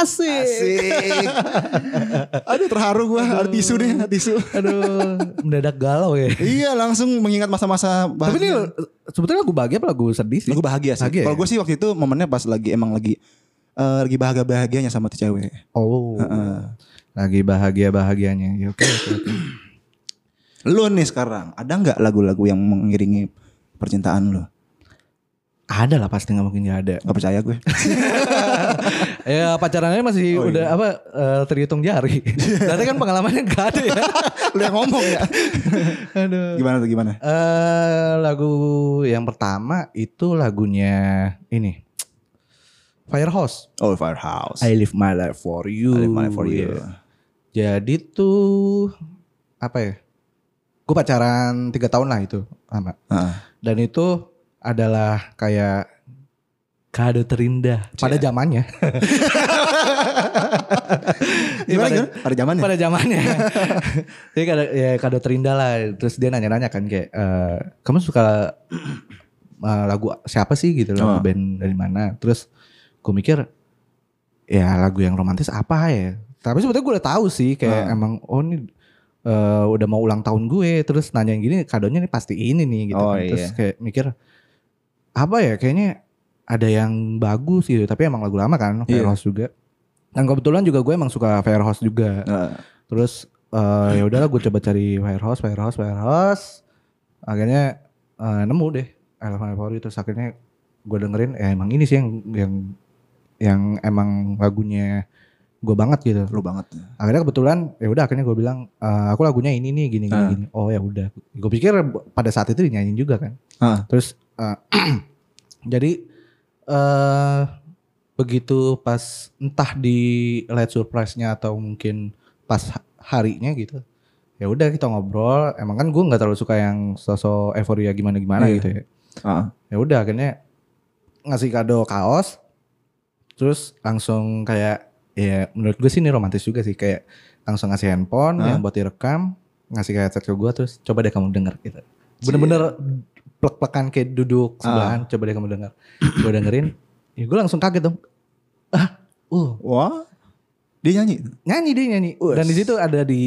[SPEAKER 3] Asik.
[SPEAKER 2] Asik. Aduh terharu gue, ada tisu deh, ada tisu.
[SPEAKER 3] Aduh, mendadak galau ya.
[SPEAKER 2] iya, langsung mengingat masa-masa
[SPEAKER 3] Tapi ini
[SPEAKER 2] bahagia.
[SPEAKER 3] sebetulnya lagu bahagia apa lagu sedih sih?
[SPEAKER 2] Tapi gue bahagia sih.
[SPEAKER 3] Bahagia ya?
[SPEAKER 2] Kalau gue sih waktu itu momennya pas lagi emang lagi eh, lagi bahagia bahagianya sama tuh cewek.
[SPEAKER 3] Oh. Lagi bahagia-bahagianya. Ya oke. oke, oke.
[SPEAKER 2] Lu nih sekarang, ada nggak lagu-lagu yang mengiringi percintaan lu?
[SPEAKER 3] Ada lah pasti nggak mungkin nggak ada.
[SPEAKER 2] Gak percaya gue.
[SPEAKER 3] Ya pacarannya masih
[SPEAKER 2] Oh,
[SPEAKER 3] udah apa eh, terhitung jari. Berarti kan pengalamannya nggak ada ya.
[SPEAKER 2] lu yang ngomong ya.
[SPEAKER 3] Aduh.
[SPEAKER 2] Gimana tuh gimana?
[SPEAKER 3] eh lagu yang pertama itu lagunya ini Firehouse.
[SPEAKER 2] Oh Firehouse.
[SPEAKER 3] I live my life for you.
[SPEAKER 2] I Live My Life for you.
[SPEAKER 3] Jadi tuh apa ya? Gue pacaran tiga tahun lah itu lama.
[SPEAKER 2] Heeh.
[SPEAKER 3] Dan itu adalah kayak kado terindah pada zamannya. Iya,
[SPEAKER 2] Gimana
[SPEAKER 3] pada-
[SPEAKER 2] gimana? Ada zamannya.
[SPEAKER 3] pada zamannya. Jadi kado, ya, kado terindah lah. Terus dia nanya-nanya kan kayak, eh, kamu suka eh, lagu siapa sih gitu, lagu
[SPEAKER 2] Oh.
[SPEAKER 3] band dari mana? Terus gue mikir, ya lagu yang romantis apa ya? Tapi sebetulnya gue udah tahu sih kayak
[SPEAKER 2] Ah.
[SPEAKER 3] emang oh ini eh, udah mau ulang tahun gue, terus nanya yang gini kadonya nih pasti ini nih gitu.
[SPEAKER 2] Oh,
[SPEAKER 3] kan. Terus
[SPEAKER 2] iya.
[SPEAKER 3] kayak mikir apa ya kayaknya ada yang bagus gitu, tapi emang lagu lama kan,
[SPEAKER 2] Iya.
[SPEAKER 3] Firehouse juga. Dan kebetulan juga gue emang suka Firehouse juga.
[SPEAKER 2] Heeh.
[SPEAKER 3] Terus eh, ya udahlah gue coba cari warehouse, warehouse, warehouse. Akhirnya eh, nemu deh Elephant Ivory terus akhirnya gue dengerin ya emang ini sih yang yang yang emang lagunya gue banget gitu.
[SPEAKER 2] Eh, lu banget.
[SPEAKER 3] Akhirnya kebetulan ya udah akhirnya gue bilang "Eh, aku lagunya ini nih gini gini,
[SPEAKER 2] Ah.
[SPEAKER 3] gini. Oh ya udah. Gue pikir pada saat itu dinyanyiin juga kan.
[SPEAKER 2] Ah.
[SPEAKER 3] Terus eh, jadi eh begitu pas entah di light surprise-nya atau mungkin pas ha- harinya gitu. Ya udah kita ngobrol. Emang kan gue nggak terlalu suka yang sosok euforia gimana gimana
[SPEAKER 2] Iya.
[SPEAKER 3] gitu ya.
[SPEAKER 2] Heeh.
[SPEAKER 3] Ya udah akhirnya ngasih kado kaos. Terus langsung kayak ya menurut gue sih ini romantis juga sih kayak langsung ngasih handphone
[SPEAKER 2] Hah?
[SPEAKER 3] yang buat direkam, ngasih headset ke gue terus coba deh kamu denger gitu. Bener-bener plek-plekan kayak
[SPEAKER 2] Ah.
[SPEAKER 3] duduk sebelahan, coba deh kamu denger. gue dengerin, ya gue langsung kaget dong. Ah, uh,
[SPEAKER 2] Wah. Dia nyanyi.
[SPEAKER 3] nyanyi dia nyanyi dan
[SPEAKER 2] Wes.
[SPEAKER 3] di situ ada di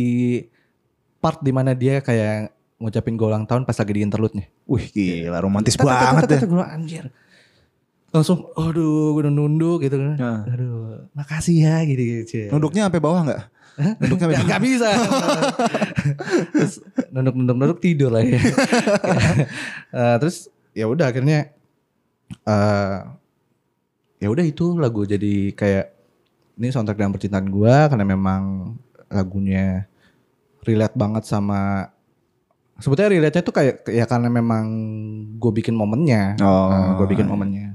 [SPEAKER 3] part dimana dia kayak ngucapin gue ulang tahun pas lagi di interlude-nya
[SPEAKER 2] Wih gila romantis
[SPEAKER 3] Tet, tet, tet,
[SPEAKER 2] banget ya.
[SPEAKER 3] tet,
[SPEAKER 2] deh.
[SPEAKER 3] tet, gua anjir langsung aduh gue udah nunduk gitu kan
[SPEAKER 2] Nah.
[SPEAKER 3] aduh makasih ya gitu gitu
[SPEAKER 2] Nunduknya sampai bawah nggak? Nunduknya sampai
[SPEAKER 3] Nggak,
[SPEAKER 2] bawah.
[SPEAKER 3] nggak bisa terus nunduk nunduk nunduk tidur lah ya Eh, terus ya udah akhirnya eh ya udah itu lagu jadi kayak ini soundtrack dalam percintaan gua karena memang lagunya relate banget sama sebetulnya relate-nya tuh kayak ya karena memang gue bikin momennya
[SPEAKER 2] Oh.
[SPEAKER 3] gue bikin momennya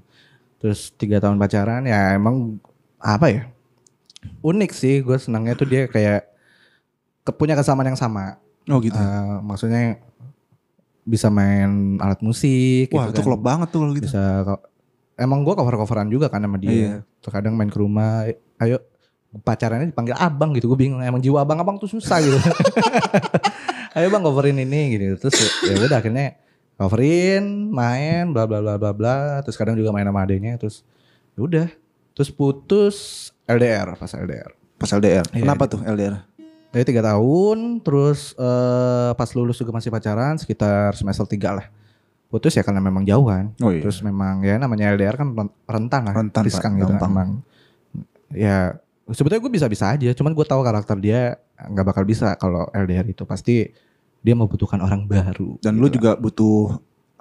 [SPEAKER 3] terus tiga tahun pacaran ya emang apa ya unik sih gue senangnya tuh dia kayak ke- punya kesamaan yang sama
[SPEAKER 2] Oh gitu.
[SPEAKER 3] Eh, maksudnya bisa main alat musik
[SPEAKER 2] Wah itu
[SPEAKER 3] gitu kan.
[SPEAKER 2] klop banget tuh kalau gitu.
[SPEAKER 3] bisa ko- emang gue cover coveran juga kan sama dia
[SPEAKER 2] Iya.
[SPEAKER 3] terkadang main ke rumah "Eh, ayo pacarannya dipanggil abang gitu gue bingung emang jiwa abang abang tuh susah gitu ayo bang coverin ini gitu terus ya- ya udah akhirnya coverin main bla bla bla bla bla terus kadang juga main sama adenya terus ya udah terus putus LDR pas LDR
[SPEAKER 2] Pas LDR.
[SPEAKER 3] Iya,
[SPEAKER 2] Kenapa tuh LDR?
[SPEAKER 3] jadi tiga tahun terus eh, pas lulus juga masih pacaran sekitar semester tiga lah putus ya karena memang jauhan
[SPEAKER 2] Oh iya.
[SPEAKER 3] terus memang ya namanya LDR kan ren- rentan lah
[SPEAKER 2] Rentan, Pak.
[SPEAKER 3] riskang gitu
[SPEAKER 2] Gampang.
[SPEAKER 3] emang ya sebetulnya gue bisa-bisa aja cuman gue tahu karakter dia nggak bakal bisa kalau LDR itu pasti dia membutuhkan orang baru
[SPEAKER 2] Dan
[SPEAKER 3] gitu
[SPEAKER 2] lu
[SPEAKER 3] lah.
[SPEAKER 2] juga butuh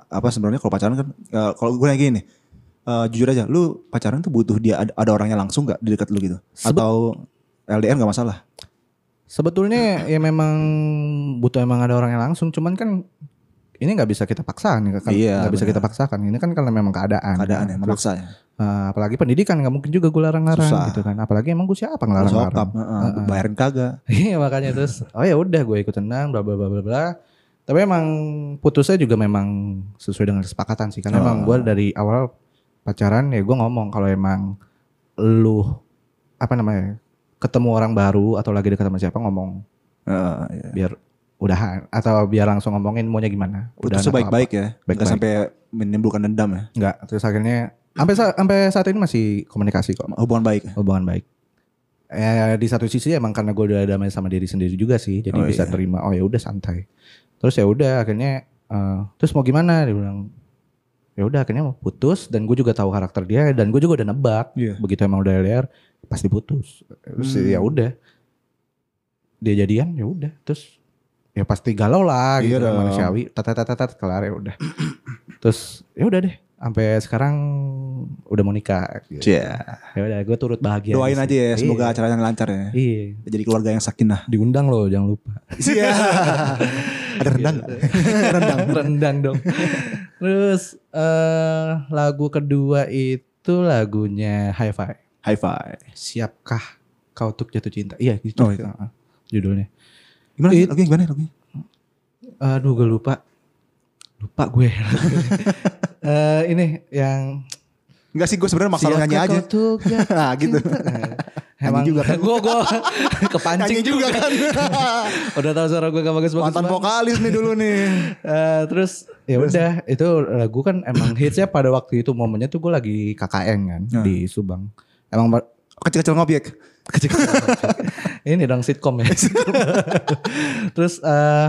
[SPEAKER 2] apa sebenarnya kalau pacaran kan eh, kalau gue nanya gini nih. eh, jujur aja, lu pacaran tuh butuh dia ada, ada orangnya langsung gak di dekat lu gitu?
[SPEAKER 3] Sebe-
[SPEAKER 2] Atau LDR gak masalah?
[SPEAKER 3] Sebetulnya ya memang butuh emang ada orangnya langsung, cuman kan ini nggak bisa kita paksakan, nggak kan-
[SPEAKER 2] Iya,
[SPEAKER 3] nggak bisa
[SPEAKER 2] benar.
[SPEAKER 3] kita paksakan. Ini kan karena memang keadaan.
[SPEAKER 2] Keadaan yang
[SPEAKER 3] Terus,
[SPEAKER 2] memaksa ya.
[SPEAKER 3] eh, apalagi pendidikan nggak mungkin juga gue larang-larang
[SPEAKER 2] Susah.
[SPEAKER 3] gitu kan. Apalagi emang gue siapa
[SPEAKER 2] Harus
[SPEAKER 3] ngelarang-larang.
[SPEAKER 2] sokap, heeh,
[SPEAKER 3] Heeh.
[SPEAKER 2] bayarin kagak.
[SPEAKER 3] Iya makanya terus oh ya udah gue ikut tenang bla bla bla bla bla. Tapi emang putusnya juga memang sesuai dengan kesepakatan sih
[SPEAKER 2] Oh.
[SPEAKER 3] karena emang gue dari awal pacaran ya gue ngomong kalau emang lu apa namanya ketemu orang baru atau lagi dekat sama siapa ngomong
[SPEAKER 2] Heeh, iya.
[SPEAKER 3] biar udahan atau biar langsung ngomongin maunya gimana.
[SPEAKER 2] Putusnya
[SPEAKER 3] Udahan atau
[SPEAKER 2] baik-baik ya. Gak
[SPEAKER 3] Baik-baik.
[SPEAKER 2] sampai menimbulkan dendam ya.
[SPEAKER 3] apa. Enggak, terus akhirnya sampai sa- sampai saat ini masih komunikasi kok,
[SPEAKER 2] Hubungan baik. ya.
[SPEAKER 3] hubungan baik. Eh, di satu sisi emang karena gue udah damai sama diri sendiri juga sih, jadi
[SPEAKER 2] Oh,
[SPEAKER 3] bisa
[SPEAKER 2] iya.
[SPEAKER 3] terima oh ya udah santai. Terus ya udah akhirnya eh, terus mau gimana dia bilang ya udah akhirnya mau putus dan gue juga tahu karakter dia dan gue juga udah nebak
[SPEAKER 2] Iya.
[SPEAKER 3] begitu emang udah LDR pasti putus terus
[SPEAKER 2] Hmm.
[SPEAKER 3] ya udah dia jadian ya udah terus ya pasti galau lah
[SPEAKER 2] Iya
[SPEAKER 3] gitu kan,
[SPEAKER 2] dong.
[SPEAKER 3] manusiawi tat tat tat tat kelar ya udah terus ya udah deh sampai sekarang udah mau nikah gitu.
[SPEAKER 2] Iya.
[SPEAKER 3] ya udah gue turut bahagia
[SPEAKER 2] Doain
[SPEAKER 3] sih.
[SPEAKER 2] aja ya, semoga
[SPEAKER 3] Iya.
[SPEAKER 2] acaranya lancar ya.
[SPEAKER 3] iya
[SPEAKER 2] Jadi keluarga yang sakinah.
[SPEAKER 3] diundang loh jangan lupa
[SPEAKER 2] Iya. Ada rendang
[SPEAKER 3] Gitu.
[SPEAKER 2] nggak? rendang.
[SPEAKER 3] rendang dong terus eh lagu kedua itu lagunya High Five
[SPEAKER 2] High five.
[SPEAKER 3] siapkah kau untuk jatuh cinta iya gitu
[SPEAKER 2] Oh, itu.
[SPEAKER 3] Heeh, judulnya
[SPEAKER 2] Gimana
[SPEAKER 3] It-
[SPEAKER 2] lagunya gimana lagunya?
[SPEAKER 3] aduh gue lupa lupa gue Eh ini yang
[SPEAKER 2] Enggak sih gue sebenarnya maksa lo
[SPEAKER 3] siapkah
[SPEAKER 2] nyanyi aja.
[SPEAKER 3] kau untuk jatuh
[SPEAKER 2] Nah, gitu.
[SPEAKER 3] cinta?
[SPEAKER 2] Nyanyi
[SPEAKER 3] Emang
[SPEAKER 2] juga kan.
[SPEAKER 3] gue gue kepancing
[SPEAKER 2] Nyanyi juga kan.
[SPEAKER 3] Udah tahu suara gue gak bagus bagus.
[SPEAKER 2] Mantan vokalis nih dulu nih.
[SPEAKER 3] terus ya udah itu lagu kan emang hitsnya pada waktu itu momennya tuh gue lagi KKN kan
[SPEAKER 2] Nah.
[SPEAKER 3] di Subang. Emang ba-
[SPEAKER 2] Kecil-kecil ngopi ya. Kecil.
[SPEAKER 3] ini dong sitkom ya. Terus eh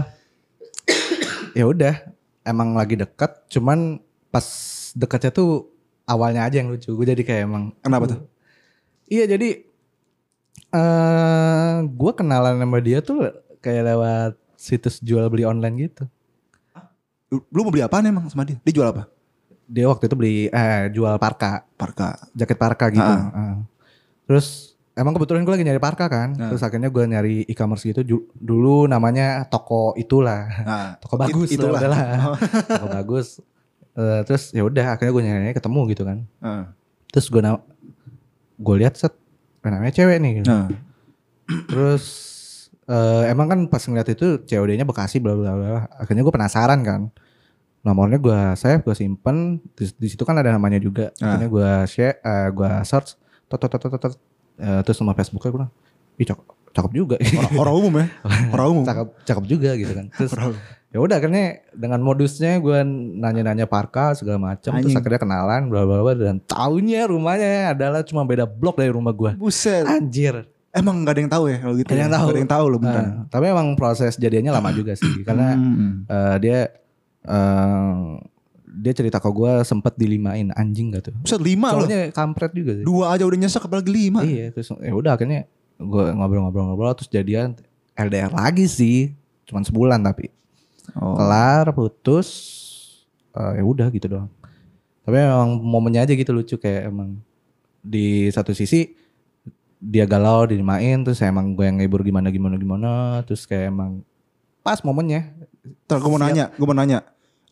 [SPEAKER 3] ya udah emang lagi dekat, cuman pas dekatnya tuh awalnya aja yang lucu. Gue jadi kayak emang
[SPEAKER 2] Kenapa tuh?
[SPEAKER 3] Iya jadi eh gue kenalan sama dia tuh kayak lewat situs jual beli online gitu.
[SPEAKER 2] Lu mau beli apaan emang sama dia? Dia jual apa?
[SPEAKER 3] Dia waktu itu beli eh jual parka,
[SPEAKER 2] Parka.
[SPEAKER 3] jaket parka gitu.
[SPEAKER 2] Ah.
[SPEAKER 3] Heeh. Terus emang kebetulan gue lagi nyari parka kan.
[SPEAKER 2] Ah.
[SPEAKER 3] Terus akhirnya gue nyari e-commerce gitu ju- dulu namanya toko itulah.
[SPEAKER 2] Nah,
[SPEAKER 3] toko Oh, bagus
[SPEAKER 2] It- itulah. Oh.
[SPEAKER 3] lah udahlah. toko bagus Eh, terus ya udah akhirnya gue nyari ketemu gitu kan
[SPEAKER 2] Heeh.
[SPEAKER 3] terus gue na- gue lihat set eh, namanya cewek nih gitu.
[SPEAKER 2] Nah,
[SPEAKER 3] terus eh, emang kan pas ngeliat itu COD-nya Bekasi bla bla bla akhirnya gue penasaran kan nomornya gue save gue simpen di, di situ kan ada namanya juga
[SPEAKER 2] Ah.
[SPEAKER 3] akhirnya gue share eh, gue search tot, tot, tot, tot, tot. Eh, terus nama Facebooknya gue bilang ih cakep, cakep juga
[SPEAKER 2] orang, orang umum ya. Orang umum.
[SPEAKER 3] cakep cakep juga gitu kan terus
[SPEAKER 2] Orang umum.
[SPEAKER 3] ya udah akhirnya dengan modusnya gue nanya-nanya parka segala macam terus
[SPEAKER 2] Anjing.
[SPEAKER 3] akhirnya kenalan bla bla bla dan taunya rumahnya adalah cuma beda blok dari rumah gue
[SPEAKER 2] Buset.
[SPEAKER 3] anjir
[SPEAKER 2] Emang gak ada yang tahu ya kalau gitu.
[SPEAKER 3] Nggak ada
[SPEAKER 2] ya?
[SPEAKER 3] yang tahu.
[SPEAKER 2] Nggak ada yang tahu loh beneran.
[SPEAKER 3] Nah, tapi emang proses jadiannya lama juga sih karena
[SPEAKER 2] Hmm.
[SPEAKER 3] eh, dia eh, dia cerita ke gue sempet dilimain anjing gak tuh
[SPEAKER 2] Buset lima loh.
[SPEAKER 3] cowoknya kampret juga sih
[SPEAKER 2] Dua aja udah nyesek apalagi lima.
[SPEAKER 3] iya terus ya udah akhirnya gue ngobrol-ngobrol-ngobrol terus jadian LDR lagi sih cuman sebulan tapi
[SPEAKER 2] Oh.
[SPEAKER 3] kelar putus eh, ya udah gitu doang tapi emang momennya aja gitu lucu kayak emang di satu sisi dia galau dimain terus emang gue yang ngibur gimana gimana gimana terus kayak emang pas momennya
[SPEAKER 2] Ntar gue mau nanya, gue mau nanya.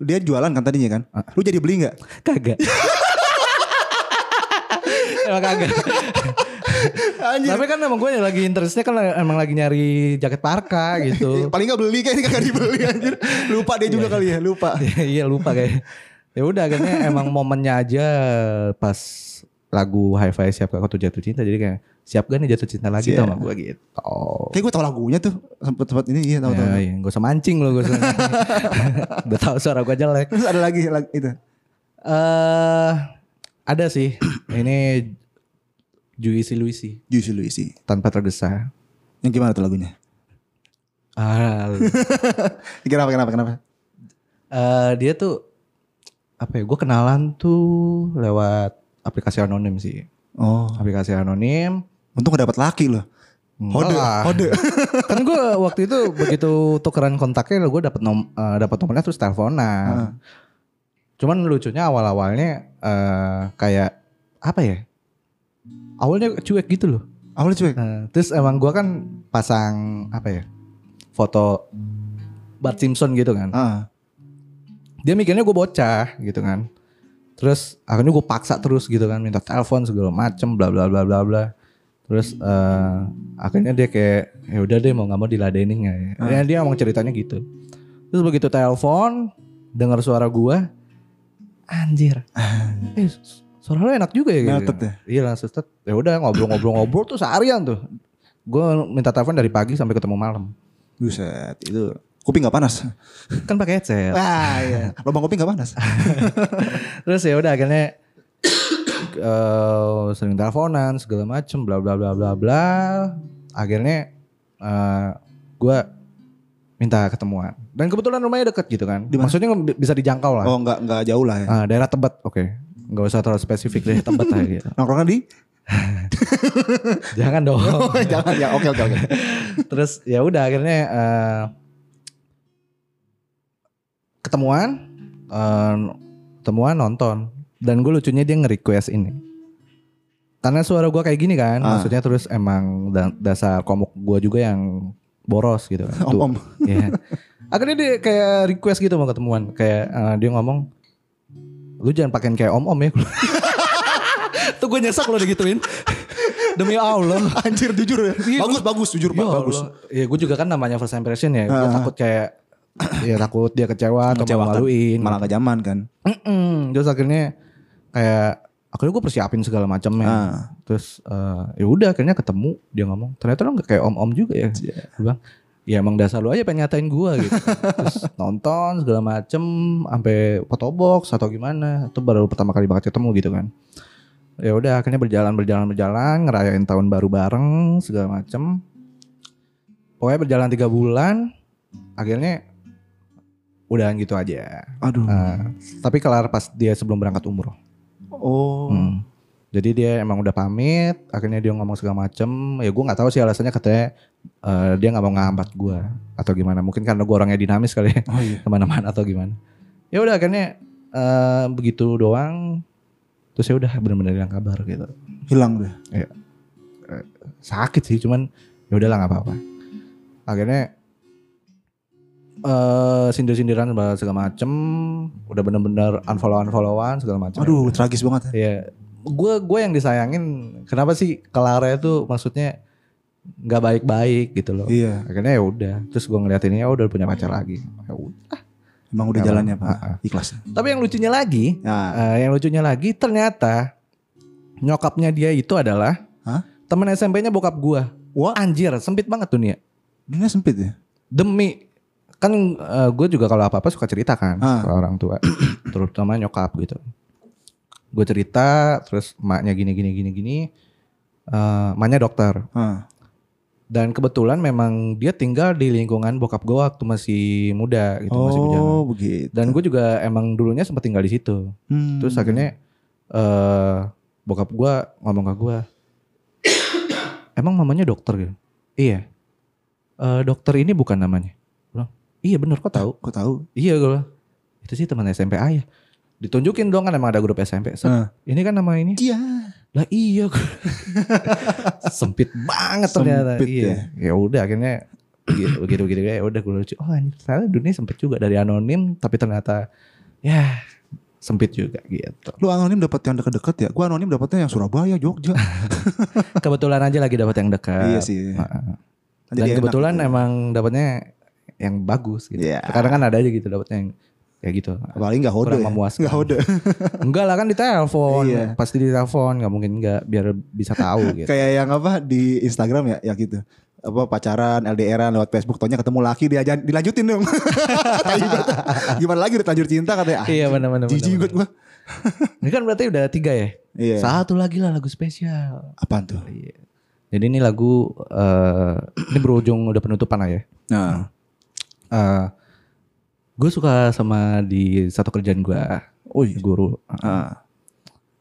[SPEAKER 2] Dia jualan kan tadinya kan?
[SPEAKER 3] Ah.
[SPEAKER 2] Lu jadi beli nggak?
[SPEAKER 3] kagak emang kagak
[SPEAKER 2] Anjir.
[SPEAKER 3] tapi kan emang gue lagi interestnya kan emang lagi nyari jaket parka gitu
[SPEAKER 2] Paling nggak beli kayak ini kagak dibeli anjir. Lupa dia juga kali ya, lupa.
[SPEAKER 3] Iya, iya lupa kayak. Ya udah akhirnya emang momennya aja pas lagu Hi-Fi siap kau tuh jatuh cinta jadi kayak siap gak nih jatuh cinta lagi
[SPEAKER 2] Siap.
[SPEAKER 3] sama gue gitu.
[SPEAKER 2] Kayak gue tau lagunya tuh sempet sempet ini iya tahu tahu.
[SPEAKER 3] Ya, iya. Gak usah mancing lo gue Udah tahu suara gue jelek.
[SPEAKER 2] Terus ada lagi lag- itu.
[SPEAKER 3] Eh ada sih. Ini Juicy Luisi
[SPEAKER 2] Juicy Luisi.
[SPEAKER 3] tanpa tergesa.
[SPEAKER 2] Yang gimana tuh lagunya?
[SPEAKER 3] Ah, lu.
[SPEAKER 2] Kenapa kenapa kenapa?
[SPEAKER 3] Eh, dia tuh apa ya? Gue kenalan tuh lewat aplikasi anonim sih.
[SPEAKER 2] Oh,
[SPEAKER 3] Aplikasi anonim.
[SPEAKER 2] untung gak dapet laki loh. Hode,
[SPEAKER 3] Enggak.
[SPEAKER 2] hode.
[SPEAKER 3] kan gue waktu itu begitu tukeran kontaknya gue dapet nom eh, dapet nomornya terus teleponan. Cuman lucunya awal awalnya kayak apa ya? Awalnya cuek gitu loh.
[SPEAKER 2] Awalnya cuek.
[SPEAKER 3] Nah, terus emang gua kan pasang apa ya foto Bart Simpson gitu kan.
[SPEAKER 2] Ah,
[SPEAKER 3] Dia mikirnya gue bocah gitu kan. Terus akhirnya gue paksa terus gitu kan minta telepon segala macem bla bla bla bla bla. Terus eh, akhirnya dia kayak ya udah deh mau nggak mau diladenin nggak ya. Ya, dia emang ceritanya gitu. Terus begitu telepon dengar suara gua anjir. eh su- suara lo enak juga ya. gitu.
[SPEAKER 2] Melted ya?
[SPEAKER 3] Iya langsung set. Ya udah ngobrol-ngobrol-ngobrol tuh seharian tuh. Gue minta telepon dari pagi sampai ketemu malam.
[SPEAKER 2] buset itu. Kuping gak panas.
[SPEAKER 3] Kan pakai headset.
[SPEAKER 2] Wah, iya. Lubang kuping gak panas.
[SPEAKER 3] Terus ya udah akhirnya eh, sering teleponan segala macem bla bla bla bla bla. Akhirnya eh gue minta ketemuan. Dan kebetulan rumahnya deket gitu kan.
[SPEAKER 2] Di mana?
[SPEAKER 3] Maksudnya nge- bisa dijangkau lah.
[SPEAKER 2] Oh, nggak nggak jauh lah ya.
[SPEAKER 3] Ah, daerah Tebet, oke. Nggak usah terlalu spesifik deh Tebet aja gitu.
[SPEAKER 2] Nongkrongnya di?
[SPEAKER 3] Jangan dong.
[SPEAKER 2] Oh, jangan ya. Oke oke oke.
[SPEAKER 3] Terus ya udah akhirnya eh, ketemuan, eh, ketemuan nonton. Dan gue lucunya dia nge-request ini. Karena suara gue kayak gini kan,
[SPEAKER 2] Ah.
[SPEAKER 3] maksudnya terus emang da- dasar komuk gue juga yang boros gitu. kan.
[SPEAKER 2] Om
[SPEAKER 3] Tuh,
[SPEAKER 2] om.
[SPEAKER 3] Iya. Akhirnya dia kayak request gitu mau ketemuan, kayak eh, dia ngomong, lu jangan pakein kayak om om ya. Tuh gue nyesek lo digituin. Demi Allah.
[SPEAKER 2] Anjir jujur ya.
[SPEAKER 3] Iya,
[SPEAKER 2] Bagus bagus jujur pak.
[SPEAKER 3] Ya
[SPEAKER 2] Bagus.
[SPEAKER 3] Allah. Ya gue juga kan namanya first impression ya. Gue
[SPEAKER 2] Ah.
[SPEAKER 3] takut kayak ya takut dia kecewa atau
[SPEAKER 2] Mengecewakan.
[SPEAKER 3] maluin.
[SPEAKER 2] Malah gak zaman kan.
[SPEAKER 3] Terus akhirnya kayak akhirnya gue persiapin segala macamnya.
[SPEAKER 2] Ah.
[SPEAKER 3] Terus eh, ya udah akhirnya ketemu dia ngomong ternyata lo nggak kayak om-om juga ya. Gue bilang ya emang dasar lu aja pengen nyatain gue gitu. Terus nonton segala macem sampai photo box atau gimana. Itu baru pertama kali banget ketemu gitu kan. Ya udah akhirnya berjalan berjalan berjalan ngerayain tahun baru bareng segala macem. Pokoknya berjalan tiga bulan akhirnya udahan gitu aja.
[SPEAKER 2] Aduh.
[SPEAKER 3] Eh, tapi kelar pas dia sebelum berangkat umroh.
[SPEAKER 2] Oh.
[SPEAKER 3] Hmm. Jadi dia emang udah pamit, akhirnya dia ngomong segala macem. Ya gue nggak tahu sih alasannya katanya eh, dia nggak mau ngambat gue atau gimana. Mungkin karena gue orangnya dinamis kali ya
[SPEAKER 2] Oh iya.
[SPEAKER 3] kemana-mana atau gimana. Ya udah akhirnya eh, begitu doang. Terus ya udah bener-bener hilang kabar gitu.
[SPEAKER 2] Hilang deh.
[SPEAKER 3] Sakit sih, cuman ya udahlah nggak apa-apa. Akhirnya eh sindir-sindiran segala macem, udah bener-bener unfollow-unfollowan segala macem.
[SPEAKER 2] Aduh tragis banget. ya.
[SPEAKER 3] Iya. Gue gue yang disayangin kenapa sih Clara itu maksudnya nggak baik-baik gitu loh.
[SPEAKER 2] Iya.
[SPEAKER 3] Akhirnya ya udah, terus gue ngeliat ini oh udah punya pacar lagi. Ya udah.
[SPEAKER 2] Emang udah
[SPEAKER 3] Emang,
[SPEAKER 2] jalannya
[SPEAKER 3] ah,
[SPEAKER 2] pak. Ikhlas.
[SPEAKER 3] Tapi yang lucunya lagi,
[SPEAKER 2] Nah.
[SPEAKER 3] eh, yang lucunya lagi ternyata nyokapnya dia itu adalah
[SPEAKER 2] Hah?
[SPEAKER 3] temen SMP-nya bokap gue.
[SPEAKER 2] Wah.
[SPEAKER 3] Anjir, sempit banget ya. dunia.
[SPEAKER 2] Dunia sempit ya.
[SPEAKER 3] Demi kan gue juga kalau apa-apa suka cerita kan
[SPEAKER 2] Ah.
[SPEAKER 3] ke orang tua, terutama nyokap gitu. Gue cerita, terus emaknya gini gini gini gini. Eh, emaknya dokter.
[SPEAKER 2] Ah.
[SPEAKER 3] Dan kebetulan memang dia tinggal di lingkungan bokap gue waktu masih muda gitu, masih bujana.
[SPEAKER 2] oh begitu.
[SPEAKER 3] Dan gue juga emang dulunya sempat tinggal di situ.
[SPEAKER 2] Hmm.
[SPEAKER 3] Terus akhirnya eh bokap gue ngomong ke gue, emang mamanya dokter gitu? Iya. "Eh, dokter ini bukan namanya. Gua bilang, iya bener kok tahu.
[SPEAKER 2] Kok tahu?
[SPEAKER 3] Iya gue bilang, itu sih teman SMP ayah. ya." Ditunjukin dong kan emang ada grup SMP. Set,
[SPEAKER 2] Ah.
[SPEAKER 3] Ini kan nama ini.
[SPEAKER 2] Iya.
[SPEAKER 3] Lah iya gua- Sempit banget
[SPEAKER 2] Sempit
[SPEAKER 3] ternyata.
[SPEAKER 2] ya.
[SPEAKER 3] iya. Ya udah akhirnya gitu gitu gitu ya udah gue lucu. Oh anjir, ternyata dunia sempit juga dari anonim tapi ternyata ya sempit juga gitu.
[SPEAKER 2] Lu anonim dapat yang deket-deket ya. Gua anonim dapatnya yang Surabaya, Jogja.
[SPEAKER 3] Kebetulan aja lagi dapat yang dekat.
[SPEAKER 2] iya sih.
[SPEAKER 3] Heeh.
[SPEAKER 2] Jadi
[SPEAKER 3] Ah, Dan
[SPEAKER 2] enak
[SPEAKER 3] kebetulan
[SPEAKER 2] gitu.
[SPEAKER 3] emang dapatnya yang bagus gitu.
[SPEAKER 2] Iya.
[SPEAKER 3] Sekarang kan ada aja gitu dapatnya yang kayak gitu
[SPEAKER 2] Apalagi gak hode
[SPEAKER 3] Kurang
[SPEAKER 2] ya.
[SPEAKER 3] memuaskan.
[SPEAKER 2] Gak hode.
[SPEAKER 3] enggak lah kan ditelepon
[SPEAKER 2] Iya.
[SPEAKER 3] pasti ditelepon nggak mungkin nggak biar bisa tahu gitu
[SPEAKER 2] Kayak yang apa di Instagram ya, ya gitu. Apa pacaran, LDRan lewat Facebook, taunya ketemu lagi dia jangan- dilanjutin dong. Tai banget. Gimana lagi udah lanjut cinta katanya. Ah,
[SPEAKER 3] Iya, benar-benar,
[SPEAKER 2] Jijik
[SPEAKER 3] benar-benar.
[SPEAKER 2] banget gua.
[SPEAKER 3] ini kan berarti udah tiga ya
[SPEAKER 2] Iya.
[SPEAKER 3] satu lagi lah lagu spesial
[SPEAKER 2] Apaan tuh?
[SPEAKER 3] Iya. Jadi ini lagu eh, ini berujung udah penutupan lah ya.
[SPEAKER 2] Nah,
[SPEAKER 3] gue Eh, suka sama di satu kerjaan gue, guru.
[SPEAKER 2] ah.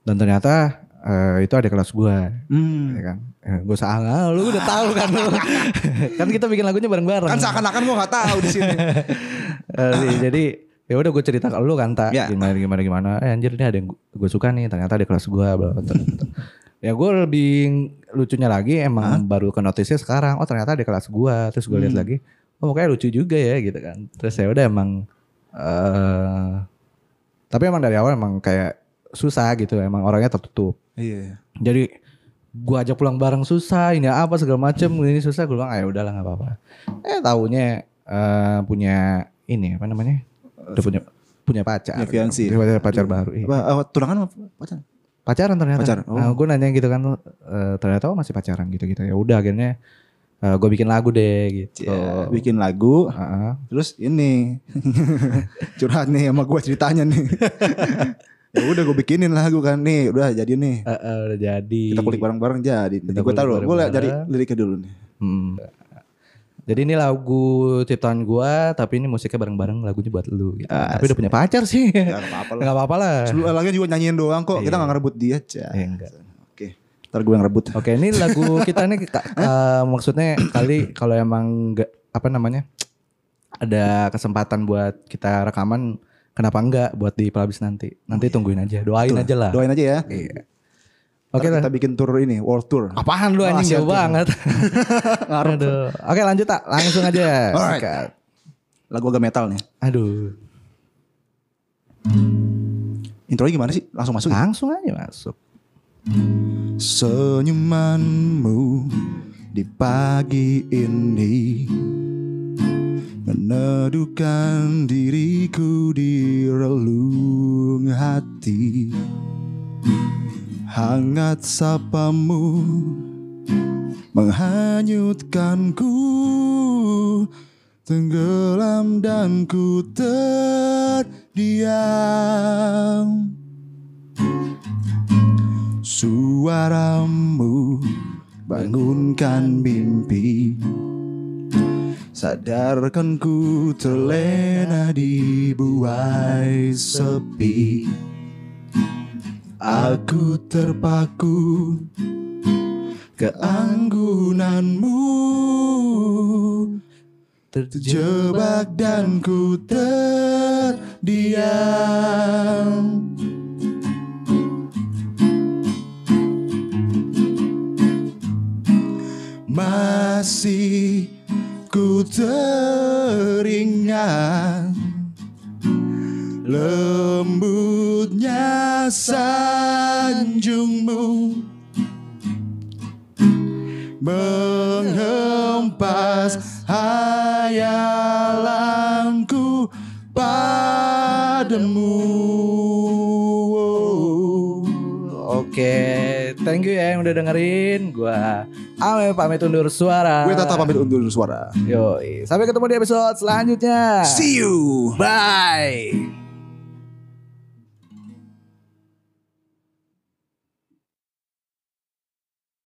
[SPEAKER 3] Dan ternyata eh, itu ada kelas gue,
[SPEAKER 2] Hmm.
[SPEAKER 3] ya kan. gue salah, lu udah tahu kan lu. kan kita bikin lagunya bareng-bareng.
[SPEAKER 2] Kan seakan-akan gua gak tahu di sini.
[SPEAKER 3] Eh, jadi ya udah gue cerita ke lu kan tak
[SPEAKER 2] Ya.
[SPEAKER 3] gimana gimana gimana. Eh, anjir ini ada yang gue suka nih, ternyata ada kelas gue. ya gue lebih lucunya lagi emang baru ke notisnya sekarang. Oh ternyata ada kelas gue. Terus gue lihat lagi, oh kayak lucu juga ya gitu kan. Terus ya udah emang. eh tapi emang dari awal emang kayak susah gitu. Emang orangnya tertutup
[SPEAKER 2] Iya.
[SPEAKER 3] jadi gua ajak pulang bareng susah ini apa segala macem ini susah gua bilang ah ya udahlah nggak apa-apa eh taunya eh, punya ini apa namanya udah punya punya pacar
[SPEAKER 2] Punya fiancé.
[SPEAKER 3] Punya pacar, pacar baru iya.
[SPEAKER 2] Apa, apa, oh, tunangan apa pacaran?
[SPEAKER 3] pacaran ternyata
[SPEAKER 2] Pacar, oh.
[SPEAKER 3] nah, gue nanya gitu kan eh, ternyata oh masih pacaran gitu gitu ya udah akhirnya eh, gua bikin lagu deh gitu
[SPEAKER 2] Oh, Bikin lagu,
[SPEAKER 3] Heeh.
[SPEAKER 2] terus ini curhat nih sama gua ceritanya nih. ya udah gue bikinin lagu kan nih, udah jadi nih.
[SPEAKER 3] Eh, eh, udah jadi
[SPEAKER 2] Kita kulik bareng-bareng jadi.
[SPEAKER 3] Kita
[SPEAKER 2] Gue
[SPEAKER 3] kulik
[SPEAKER 2] taruh, gue
[SPEAKER 3] bareng-bareng.
[SPEAKER 2] dari liriknya dulu nih.
[SPEAKER 3] Hmm. Jadi ini lagu ciptaan gua tapi ini musiknya bareng-bareng lagunya buat lu gitu. tapi udah punya pacar sih.
[SPEAKER 2] Gak Ya, apa-apa lah.
[SPEAKER 3] Enggak Eh, apa-apa lah.
[SPEAKER 2] Sebelum lagi juga nyanyiin doang kok. Kita gak ngerebut dia, Cah.
[SPEAKER 3] Iya, enggak.
[SPEAKER 2] Oke, ntar gue yang rebut.
[SPEAKER 3] Oke, ini lagu kita nih Kak, eh, maksudnya kali kalau emang enggak apa namanya? ada kesempatan buat kita rekaman kenapa enggak buat di pelabis nanti. Nanti tungguin aja, doain aja lah.
[SPEAKER 2] Oh, iya. Doain aja ya.
[SPEAKER 3] Iya.
[SPEAKER 2] Oke
[SPEAKER 3] Oke lah.
[SPEAKER 2] kita bikin tour ini, world tour.
[SPEAKER 3] Apaan lu anjing
[SPEAKER 2] Oh, Asyik
[SPEAKER 3] jauh
[SPEAKER 2] tuh.
[SPEAKER 3] banget.
[SPEAKER 2] Ngarep.
[SPEAKER 3] Aduh. Oke, lanjut tak langsung aja.
[SPEAKER 2] Alright.
[SPEAKER 3] Sikat.
[SPEAKER 2] Lagu agak metal nih.
[SPEAKER 3] Aduh.
[SPEAKER 2] Intronya gimana sih? Langsung masuk. ya?
[SPEAKER 3] Langsung aja masuk.
[SPEAKER 2] Senyumanmu di pagi ini Meneduhkan diriku di relung hati Hangat sapamu menghanyutkanku Tenggelam dan ku terdiam Suaramu bangunkan mimpi Sadarkan ku terlena di buai sepi Aku terpaku keanggunanmu Terjebak dan ku terdiam masih ku teringat lembutnya sanjungmu menghempas hayalanku padamu
[SPEAKER 3] Oke, thank you ya yang udah dengerin. Gua Ame pamit undur suara.
[SPEAKER 2] Gue tetap pamit undur suara
[SPEAKER 3] Yo, sampai ketemu di episode selanjutnya.
[SPEAKER 2] See you
[SPEAKER 3] Bye.